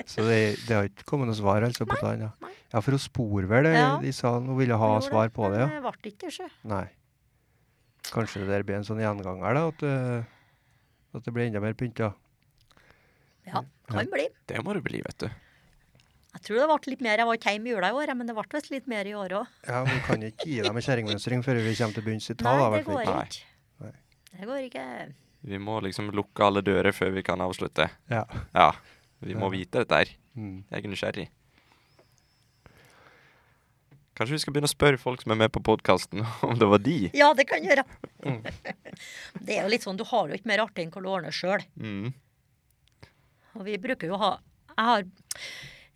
Så det, det har ikke kommet noe svar altså, på det? Ja. nei. ja, for hun spor vel det Ja. i salen. Hun ville ha Gjorde svar på det, ja. Men det ble ikke sjø. Nei. Kanskje det der blir en sånn gjenganger, da? At, eh, at det blir enda mer pynta? Ja, kan bli. Det må det bli, vet du. Jeg tror det ble litt mer. Jeg var ikke hjemme i jula i år, men det ble visst litt mer i år òg. Ja, men vi kan jo ikke gi dem en kjerringmønstring før vi kommer til bunns i tall. Nei, da, det hvertfall. går Nei. ikke. Nei. Det går ikke. Vi må liksom lukke alle dører før vi kan avslutte. Ja. Ja. Vi må vite dette her. Mm. Jeg er nysgjerrig. Kanskje vi skal begynne å spørre folk som er med på podkasten, om det var de? Ja, det kan gjøre. Mm. Det er jo litt sånn, du har jo ikke mer artig enn hva du ordner sjøl. Mm. Og vi bruker jo å ha Jeg har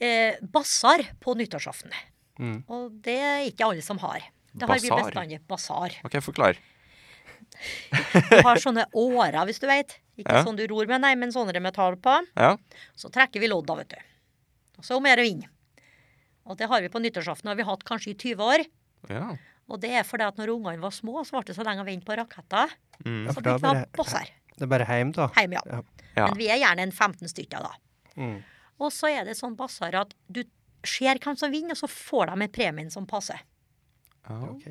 eh, basar på nyttårsaften. Mm. Og det er ikke alle som har. Det har vi Basar? bestandig. Basar. OK, forklar. Du har sånne årer, hvis du veit. Ikke Ja. sånn du ror med, nei, men sånne med tall på. Ja. Så trekker vi lodd, da, vet du. Og så om å gjøre å vinne. Og det har vi på nyttårsaften, og vi har hatt kanskje i 20 år. ja. Og det er fordi at når ungene var små, så ble det så lenge å vente på raketter. Mm. Ja, Så for begynte vi da å blir ha det- bosser. Det er bare hjem, da. Hjemme, ja. Ja. Men vi er gjerne en 15 stykker, da. Mm. Og så er det sånn basar at du ser hvem som vinner, og så får de en premien som passer. Ok.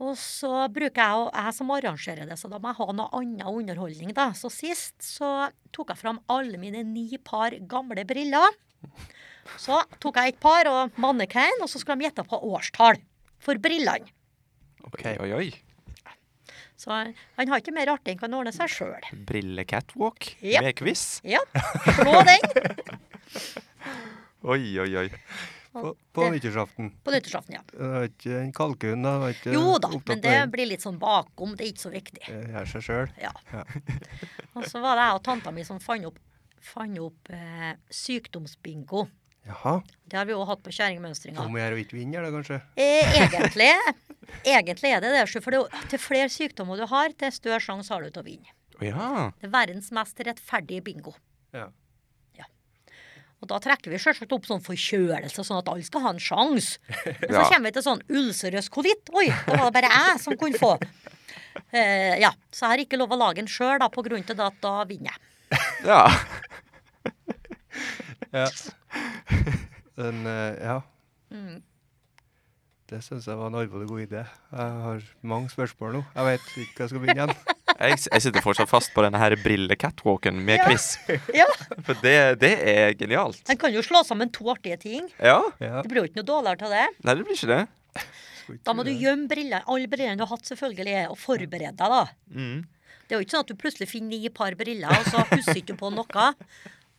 Og så bruker jeg, og jeg som arrangerer det, så da må jeg ha noe annen underholdning, da. Så sist så tok jeg fram alle mine ni par gamle briller. Så tok jeg et par og mannekein, og så skulle de gjette på årstall for brillene. Ok. Oi, oi, oi. Så han har ikke mer artig enn kan ordne seg sjøl. Brille-catwalk Ja. med quiz. Ja, slå den Oi, oi, oi. På, på nyttårsaften. på nyttårsaften, ja. Det var ikke en kalkun, da? Var ikke Jo da, opptatt men av det blir litt sånn bakom, det er ikke så viktig. Eh, Gjør seg sjøl. Ja. Ja. Og så var det jeg og tanta mi som fant opp, fant opp eh, sykdomsbingo. Jaha. Det har vi òg hatt på kjerringmønstringa. Om jeg gjør å ikke vinne, da, kanskje? Eh, egentlig, egentlig er det det. For det, er jo- til flere sykdommer du har, til større sjanse har du til å vinne. Å ja. Det er verdens mest rettferdige bingo. Ja. Og da trekker vi selvsagt opp sånn forkjølelse, sånn at alle skal ha en sjanse. Men så Ja. kommer vi til sånn ulcerøs covid. Oi, det var det bare jeg som kunne få. Eh, ja, Så jeg har ikke lov å lage en sjøl, da, på grunn til det at da vinner jeg. ja. Ja. Men, eh, ja. Mm. Det syns jeg var en alvorlig god idé. Jeg har mange spørsmål nå. Jeg vet ikke hva jeg skal begynne igjen. Jeg, s- jeg sitter fortsatt fast på denne her brille-catwalken med Ja. quiz. Ja, For det, det er genialt. En kan jo slå sammen to artige ting. Ja. Ja. Det blir jo ikke noe dårligere til det. Nei, det blir ikke det. skal ikke Da må du det. gjemme briller, alle brillene du har hatt, selvfølgelig, og forberede deg, da. Mm. Det er jo ikke sånn at du plutselig finner ni par briller, og så husker ikke du på noe.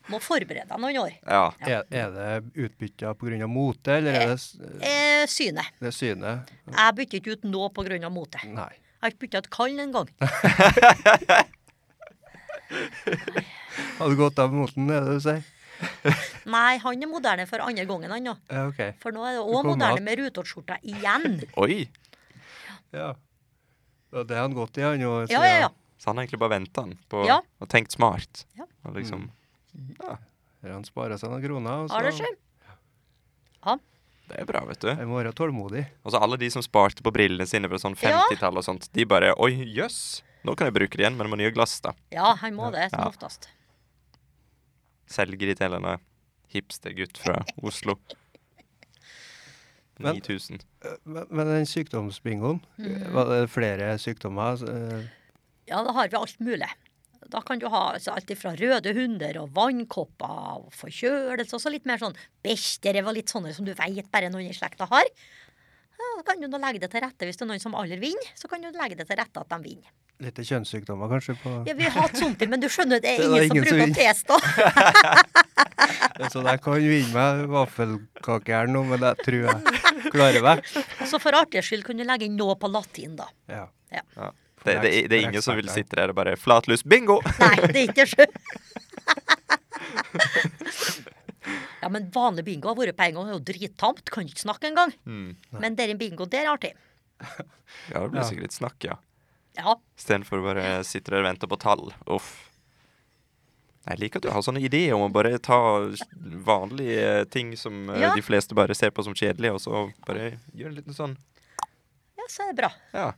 Må forberede deg noen år. Ja. er, er det utbytta pga. mote, eller er det, s- Eh, synet. det er synet? Jeg bytter ikke ut nå pga. motet. Jeg Nei. har ikke bytta ut kallen engang. Har du gått av moten, er det det du sier? Nei, han er moderne for andre gangen, han nå. Ja, OK. For nå er det Du òg kommer moderne att. med rutåtskjorta igjen. Oi. Ja. Det er det han gått i, han jo. Ja, ja, ja. Så han har egentlig bare venta på Ja. og tenkt smart. Ja. Og liksom, Der Han sparer seg noen kroner. og Har det så- skjedd? Det er bra, vet du. Jeg må være tålmodig. Og så alle de som sparte på brillene sine fra sånn Ja. 50-tall og sånt, de bare Oi, jøss. Nå kan jeg bruke det igjen, men jeg må ha nye glass, da. Ja, han må det, som Ja. oftest. Selger de til en hipstergutt fra Oslo. Men- 9000. Eh, Men, men den sykdomsbingoen, Mhm. var det flere sykdommer? Så, eh, Ja, da har vi alt mulig. Da kan du ha altså, alt fra røde hunder og vannkopper og forkjølelse, og så litt mer sånn besterev og litt sånne som du veit bare noen i slekta har. Ja, da kan du nå legge det til rette hvis det er noen som aldri vinner, så kan du legge det til rette at de vinner. Litt kjønnssykdommer, kanskje? på... Ja, vi har hatt sånt, men du skjønner, det er Det er ingen som ingen som bruker vinner. T-stav. Eh, Så jeg kan vinne meg vaffelkakejern nå, men jeg tror jeg klarer meg. Og så for artighets skyld kan du legge inn noe på latin, da. Ja. Ja. Det, det, det er For ingen som vil eksperter. sitte der og bare Flatlus, bingo! Nei, det er ikke sjø. Ja, men vanlig bingo har vært på en gang, det er jo drittamt, kan ikke snakke engang. Mm. Men der er en bingo, der er artig. Ja, det blir Ja. sikkert litt snakk, ja. Ja. Istedenfor å bare sitte der og vente på tall. Uff. Jeg liker at du har sånne ideer om å bare ta vanlige eh, ting som eh, Ja. de fleste bare ser på som kjedelige, og så bare gjøre en liten sånn Ja, så er det bra. Ja.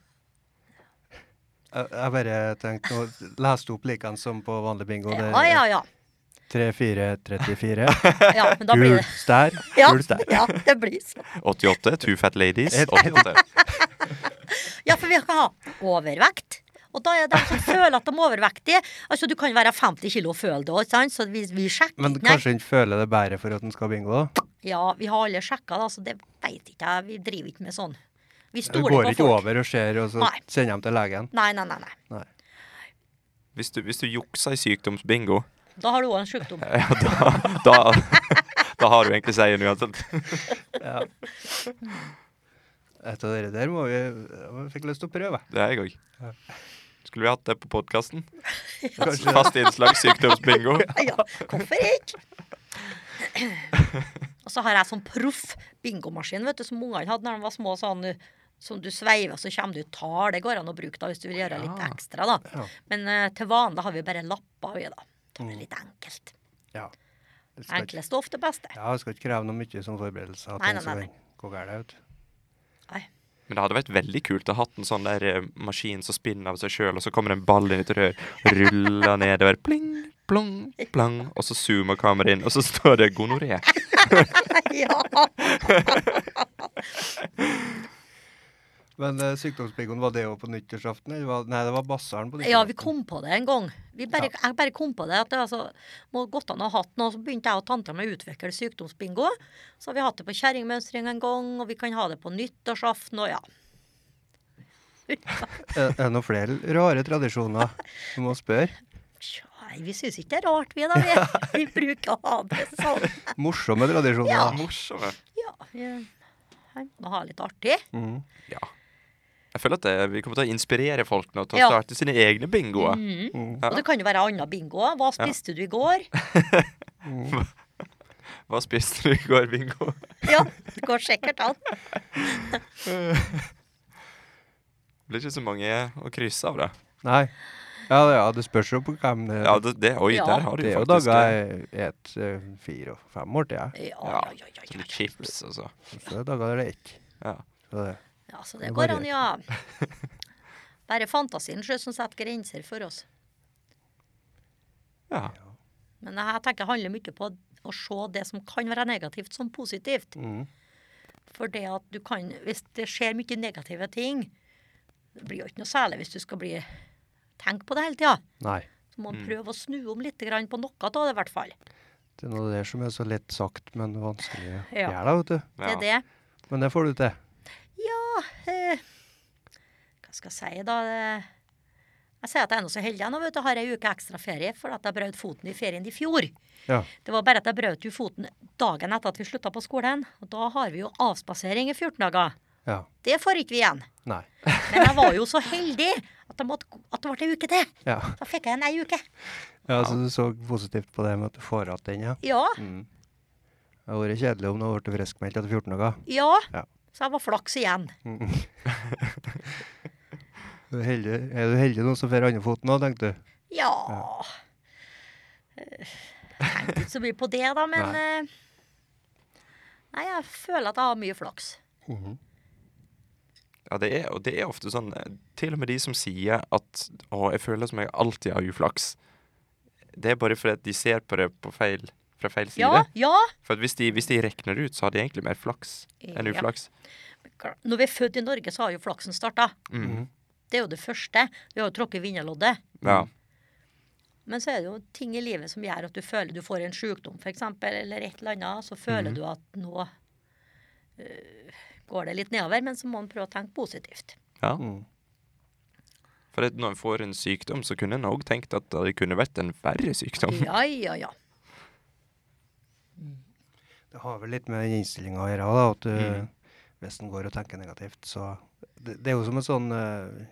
Jeg, jeg bare tenkte å lese opp likene som på vanlig bingo. Det Ja, ja, er ja. 3-4-34. ja men da blir Gul det stær, ja, gul stær. ja, det blir sånn. 88, Two Fat Ladies. Et- 88. Ja, for vi kan ha overvekt. Og da er det de som føler at de er overvektige. Altså, du kan være 50 kilo og føle det òg, sant? Så vi, vi sjekker Men ikke, nei. kanskje han føler det bedre for at han skal ha bingo, da? Ja, vi har alle sjekka, da, så det veit ikke jeg. Vi driver ikke med sånn. Vi Du stoler går på ikke folk. over og ser, og så Nei. sender de til legen. Nei, nei, nei, nei. Nei. Hvis du, hvis du jukser i sykdomsbingo, Da har du òg en sjukdom. ja, da, da, da har du egentlig seieren uansett. Ja. Et av dere der må vi Jeg fikk lyst til å prøve. Det er jeg òg. Ja. Skulle vi hatt det på podkasten? Kanskje det. Fast innslag sykdomsbingo. Ja, hvorfor ikke? Og så har jeg sånn proff bingomaskin vet du, som ungene hadde når de var små. sånn som du sveiver, så kommer det ut tall. Det går an å bruke da, hvis du vil gjøre litt Ja. ekstra. da. Ja. Men eh, til vanlig har vi bare lapper. Vi, da. Det er litt enkelt. Ja. Det skal ikke- Enklest er ofte beste. Ja, jeg skal ikke kreve noe mye som forberedelser. at Nei, den nei, nei, skal gå gærent ut. Nei. Men det hadde vært veldig kult å ha hatt en sånn der eh, maskin som spinner av seg sjøl, og så kommer det en ball inn i et rør, ruller nedover, pling, plong, plang, og så zoomer kameraet inn, og så står det gonoré. ja. Men uh, sykdomsbingoen, var det òg på nyttårsaften? Eller var, nei, det var basseren på Ja, vi kom på det en gang. Vi bare, Jeg bare kom på det. at det altså, må gått an å ha hatt noe. Så begynte jeg og tanta mi å utvikle sykdomsbingo. Så har vi hatt det på kjerringmønstring en gang, og vi kan ha det på nyttårsaften og ja. Er det noen flere rare tradisjoner? Du må spørre. Tja, Nei, vi syns ikke det er rart, vi da. Vi, vi bruker å ha det sånn. Morsomme tradisjoner. Ja. Morsomme. Ja, vi her må ha litt artig. Mm. Ja. Jeg føler at det, vi kommer til å inspirere folk nå til å Ja. starte sine egne bingoer. Mm. Og det kan jo være annen bingo. Hva spiste du i går? Hva spiste du i går, bingo? Ja, det går sikkert an. Det blir ikke så mange å krysse av, da. Nei. Ja, det- ja, det spørs jo på hvem det Ja, det, det, oi, Ja. der har du Det er jo jo faktisk dager det. jeg et, eh, fire og fem år til, jeg. Ja, ja, Ja. ja, ja, Så ja, litt chips, altså. Så det er dager det er ett. Ja. Så det- ja. Så Det det går varierer. an, ja. Bare fantasien sjøl som setter grenser for oss. ja. Men jeg tenker det handler mye på å se det som kan være negativt, som positivt. Mm. For det at du kan, hvis det skjer mye negative ting, det blir jo ikke noe særlig hvis du skal bli tenke på det hele tida. Nei. Så må man Mm. prøve å snu om litt grann på noe av det, i hvert fall. Det er noe der som er så lett sagt, men vanskelig å Ja. gjøre, da, vet du. Det ja. er det. Men det får du til. Eh, hva skal jeg si, da? Eh, Jeg sier at jeg er nå så heldig jeg nå, vet du. Har ei uke ekstra ferie fordi at jeg brøt foten i ferien i fjor. Ja. Det var bare at jeg brøt jo foten dagen etter at vi slutta på skolen. Og da har vi jo avspasering i 14 dager. Ja. Det får ikke vi igjen. Nei. Men jeg var jo så heldig at det, måtte, at det ble ei uke til. Ja. Da fikk jeg en ei uke. ja, så du så positivt på det med at du får igjen den, ja. Ja, Mm. Det hadde vært kjedelig om du hadde blitt friskmeldt etter 14 dager. ja. Ja. Så jeg var flaks igjen. Du er, heldig, er du heldig nå som får andre foten òg, tenkte du. Ja. Eh, Jeg tenkte ikke så mye på det, da, men Nei. eh, Nei, jeg føler at jeg har mye flaks. Mhm. Ja, det er, og det er ofte sånn eh, Til og med de som sier at Å, jeg føler som jeg alltid har uflaks. Det er bare fordi at de ser på det på feil, fra feil side. Ja, ja. For at hvis de, hvis de regner ut, så har de egentlig mer flaks enn Ja. uflaks. Klar- Når vi er født i Norge, så har jo flaksen starta. Mhm. Mm. Det er jo det første. Vi har jo tråkket vinnerloddet. Ja. Mhm. Men så er det jo ting i livet som gjør at du føler du får en sykdom, f.eks., eller et eller annet. Så føler du at nå øh, går det litt nedover, men så må man prøve å tenke positivt. ja. Mm. For at når en får en sykdom, så kunne en òg tenkt at det kunne vært en verre sykdom. Ja, ja, ja. Det har vel litt med den innstillinga å gjøre, da, at du, Mm. hvis en går og tenker negativt, så Det, det er jo som et sånn uh,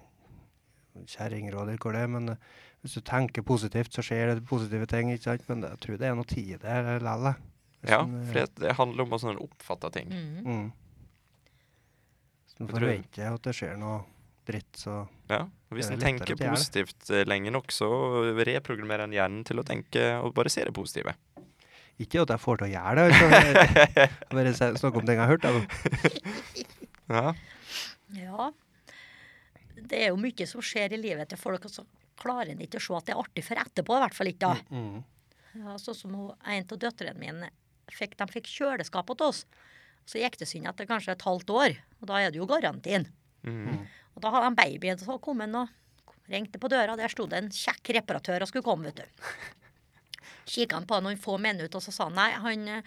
kjerringråd eller hvor det er, men eh, hvis du tenker positivt, så skjer det positive ting, ikke sant? Men jeg tror det er noe tid der eh, lell, jeg. Hvis Ja, en, eh, for det- det handler om hvordan en oppfatter ting. Mhm. mm. Hvis en Jeg tror- forventer at det skjer noe dritt, så Ja. Og hvis Det er en lettere tenker at det er det. positivt eh, lenge nok, så reprogrammerer en hjernen til å tenke og bare se det positive. Ikke at jeg får til å gjøre det, altså. Jeg Bare se- snakke om ting jeg har hørt. Jeg. Ja. Ja. Det er jo mye som skjer i livet til folk, og så klarer en ikke å se at det er artig for etterpå, i hvert fall ikke da. Mm. Ja, sånn som hun, en av døtrene mine fikk, de fikk kjøleskap til oss. Så gikk det synd etter kanskje et halvt år, og da er det jo garantien. Mm. Og da hadde han babyen, så kom han og ringte på døra. Der sto det en kjekk reparatør og skulle komme, vet du. Kikka han på han noen få minutter, og så sa han nei, han eh,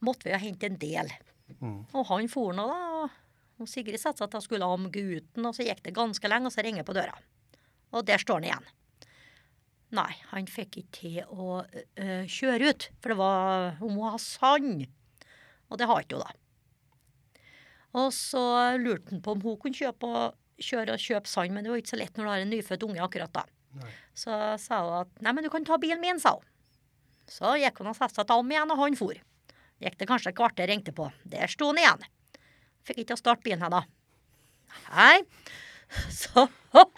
måtte vi ha hente en del. Mm. Og han for nå, da. Og og Sigrid satte seg til å skulle ha om gutten, og så gikk det ganske lenge, og så ringer jeg på døra. Og der står han igjen. Nei, han fikk ikke til å ø, ø, kjøre ut, for det var Hun må ha sand. Og det har ikke hun, da. Og så lurte han på om hun kunne kjøpe og kjøre og kjøpe sand, men det var ikke så lett når du har en nyfødt unge akkurat da. Nei. Så sa hun at nei, men du kan ta bilen min, sa hun. Så gikk hun og satte seg til ham igjen, og han for. Gikk det kanskje et kvarter ringte på. Der sto han igjen. Fikk ikke å starte bilen her da. Nei. Så oh,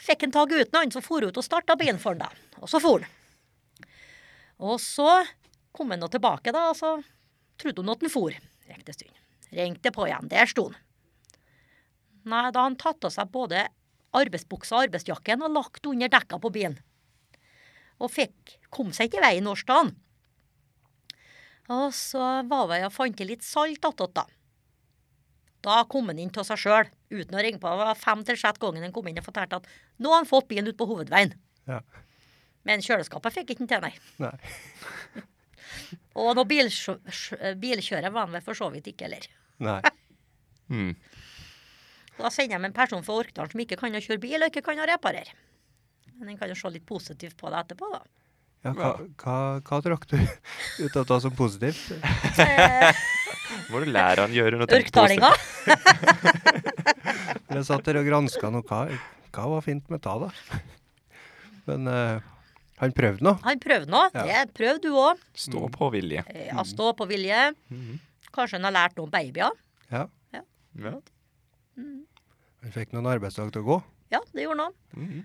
fikk han tak i gutten, han så for ut og starta bilen for han da. Og så for han. Og så kom han nå tilbake da, og så trodde hun at han for. Gikk det stund. Ringte på igjen. Der sto han. Nei, da har han tatt av seg både arbeidsbuksa og arbeidsjakken og lagt under dekka på bilen. Og fikk, kom seg ikke i vei i norskdagen. Og så var vi og fant til litt salt attåt, da. Da kom han inn av seg sjøl, uten å ringe på. Det var fem til sjette gangen han kom inn og fortalte at nå har han fått bilen ut på hovedveien. Ja. Men kjøleskapet fikk ikke han til, nei. Nei. Og noe bilsjø- sj- bilkjøret var han vel for så vidt ikke heller. Nei. Mm. Da sender de en person fra Orkdal som ikke kan å kjøre bil og ikke kan å reparere. Men en kan jo se litt positivt på det etterpå, da. Ja, hva, hva, hva trakk du ut av det som positivt? Må du lære han å gjøre noe tenkt Ørkdalinga. positivt. For Jeg satt der og granska noe. Hva, hva var fint med det, da? Men eh, han prøvde nå. Han prøvde nå. Ja. Mm. Det prøvde du òg. Stå på vilje. Ja, stå på vilje. Mm-hmm. Kanskje han har lært noe om babyer. Ja. Ja. Han fikk noen arbeidsdag til å gå. Ja, det gjorde han. Mhm. Mm-hmm.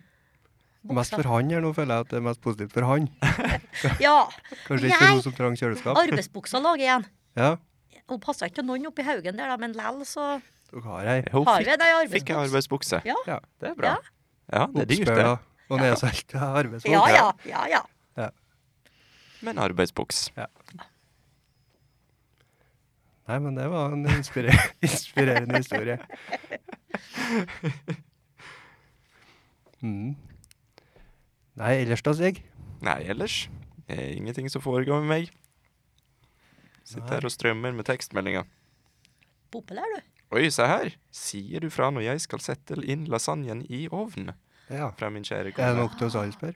Mest for han her nå, føler jeg at det er mest positivt for han. Ja. Kanskje ikke for Nei. hun som trang kjøleskap. Arbeidsbuksa lager igjen. Ja, Hun passer ikke til noen oppi haugen der, da, men lell så dere har ei. Hun har fikk, vi det i fikk en arbeidsbuksa. arbeidsbukse. Ja. Ja. Det er bra. Ja. Ja, det er dyrt, det. Oppspøla og nedsalta arbeidsfolk. Ja, ja, ja, ja. Men arbeidsbuks. Nei, men det var en inspirer inspirerende historie. Mm. Nei, ellers da, Stig? Nei, ellers det er ingenting som foregår med meg. Sitter Nei. her og strømmer med tekstmeldinger. Populær, du. Oi, se her! Sier du fra når jeg skal sette inn lasagnen i ovnen? Ja. Fra min Er kjære det kone. nok til oss alle, spør?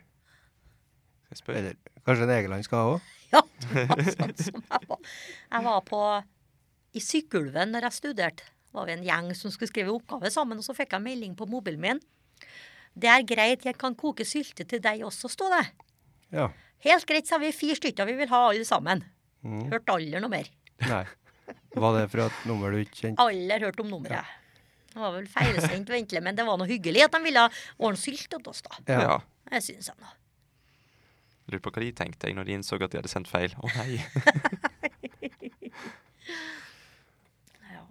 Jeg spør. Eller kanskje en Egeland skal ha òg? Ja, det var sånn som jeg var. Jeg var på, i Sykkylven når jeg studerte. var vi en gjeng som skulle skrive oppgave sammen, og så fikk jeg melding på mobilen min. Det er greit, jeg kan koke sylte til deg også, sto det. Ja. Helt greit, sa vi. Fire stykker vi vil ha alle sammen. Mm. Hørte aldri noe mer. Nei. Var det fra et nummer du ikke kjente? Aldri hørt om nummeret. Det var vel feilsendt, ventelig, men det var noe hyggelig at de ville ordne sylt til oss, da. Ja. Det syns jeg nå. Lurer på hva de tenkte jeg når de innså at de hadde sendt feil. Å nei. Ja.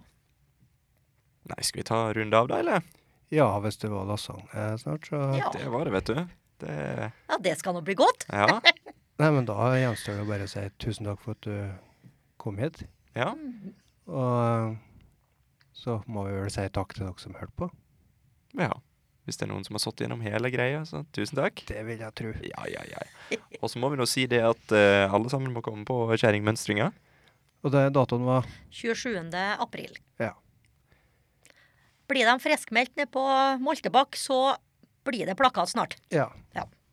Nei, skal vi ta en runde av da, eller? ja, hvis det var lasagne snart, så Ja. Det var det, vet du. Det ja, det skal nå bli godt. Ja. Nei, men da gjenstår det bare å si tusen takk for at du kom hit. ja. Og eh, så må vi vel si takk til dere som hørte på. ja. Hvis det er noen som har sittet gjennom hele greia, så tusen takk. Det vil jeg tro. Ja, ja, ja. Og så må vi nå si det at eh, alle sammen må komme på kjerringmønstringa. Og det datoen var 27. april. Ja. Blir de friskmeldt ned på Moltebakk, så blir det plakat snart. Ja.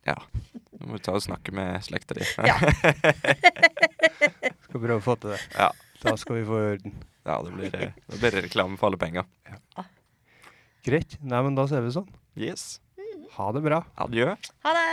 Ja. Nå må vi ta og snakke med slekta di. Ja. Skal prøve å få til det. Ja. Da skal vi få i orden. Ja, det blir, eh, da blir det reklame for alle penger. Greit. Nei, men da ser vi sånn. Yes. Ha det bra. Adjø. Ha det!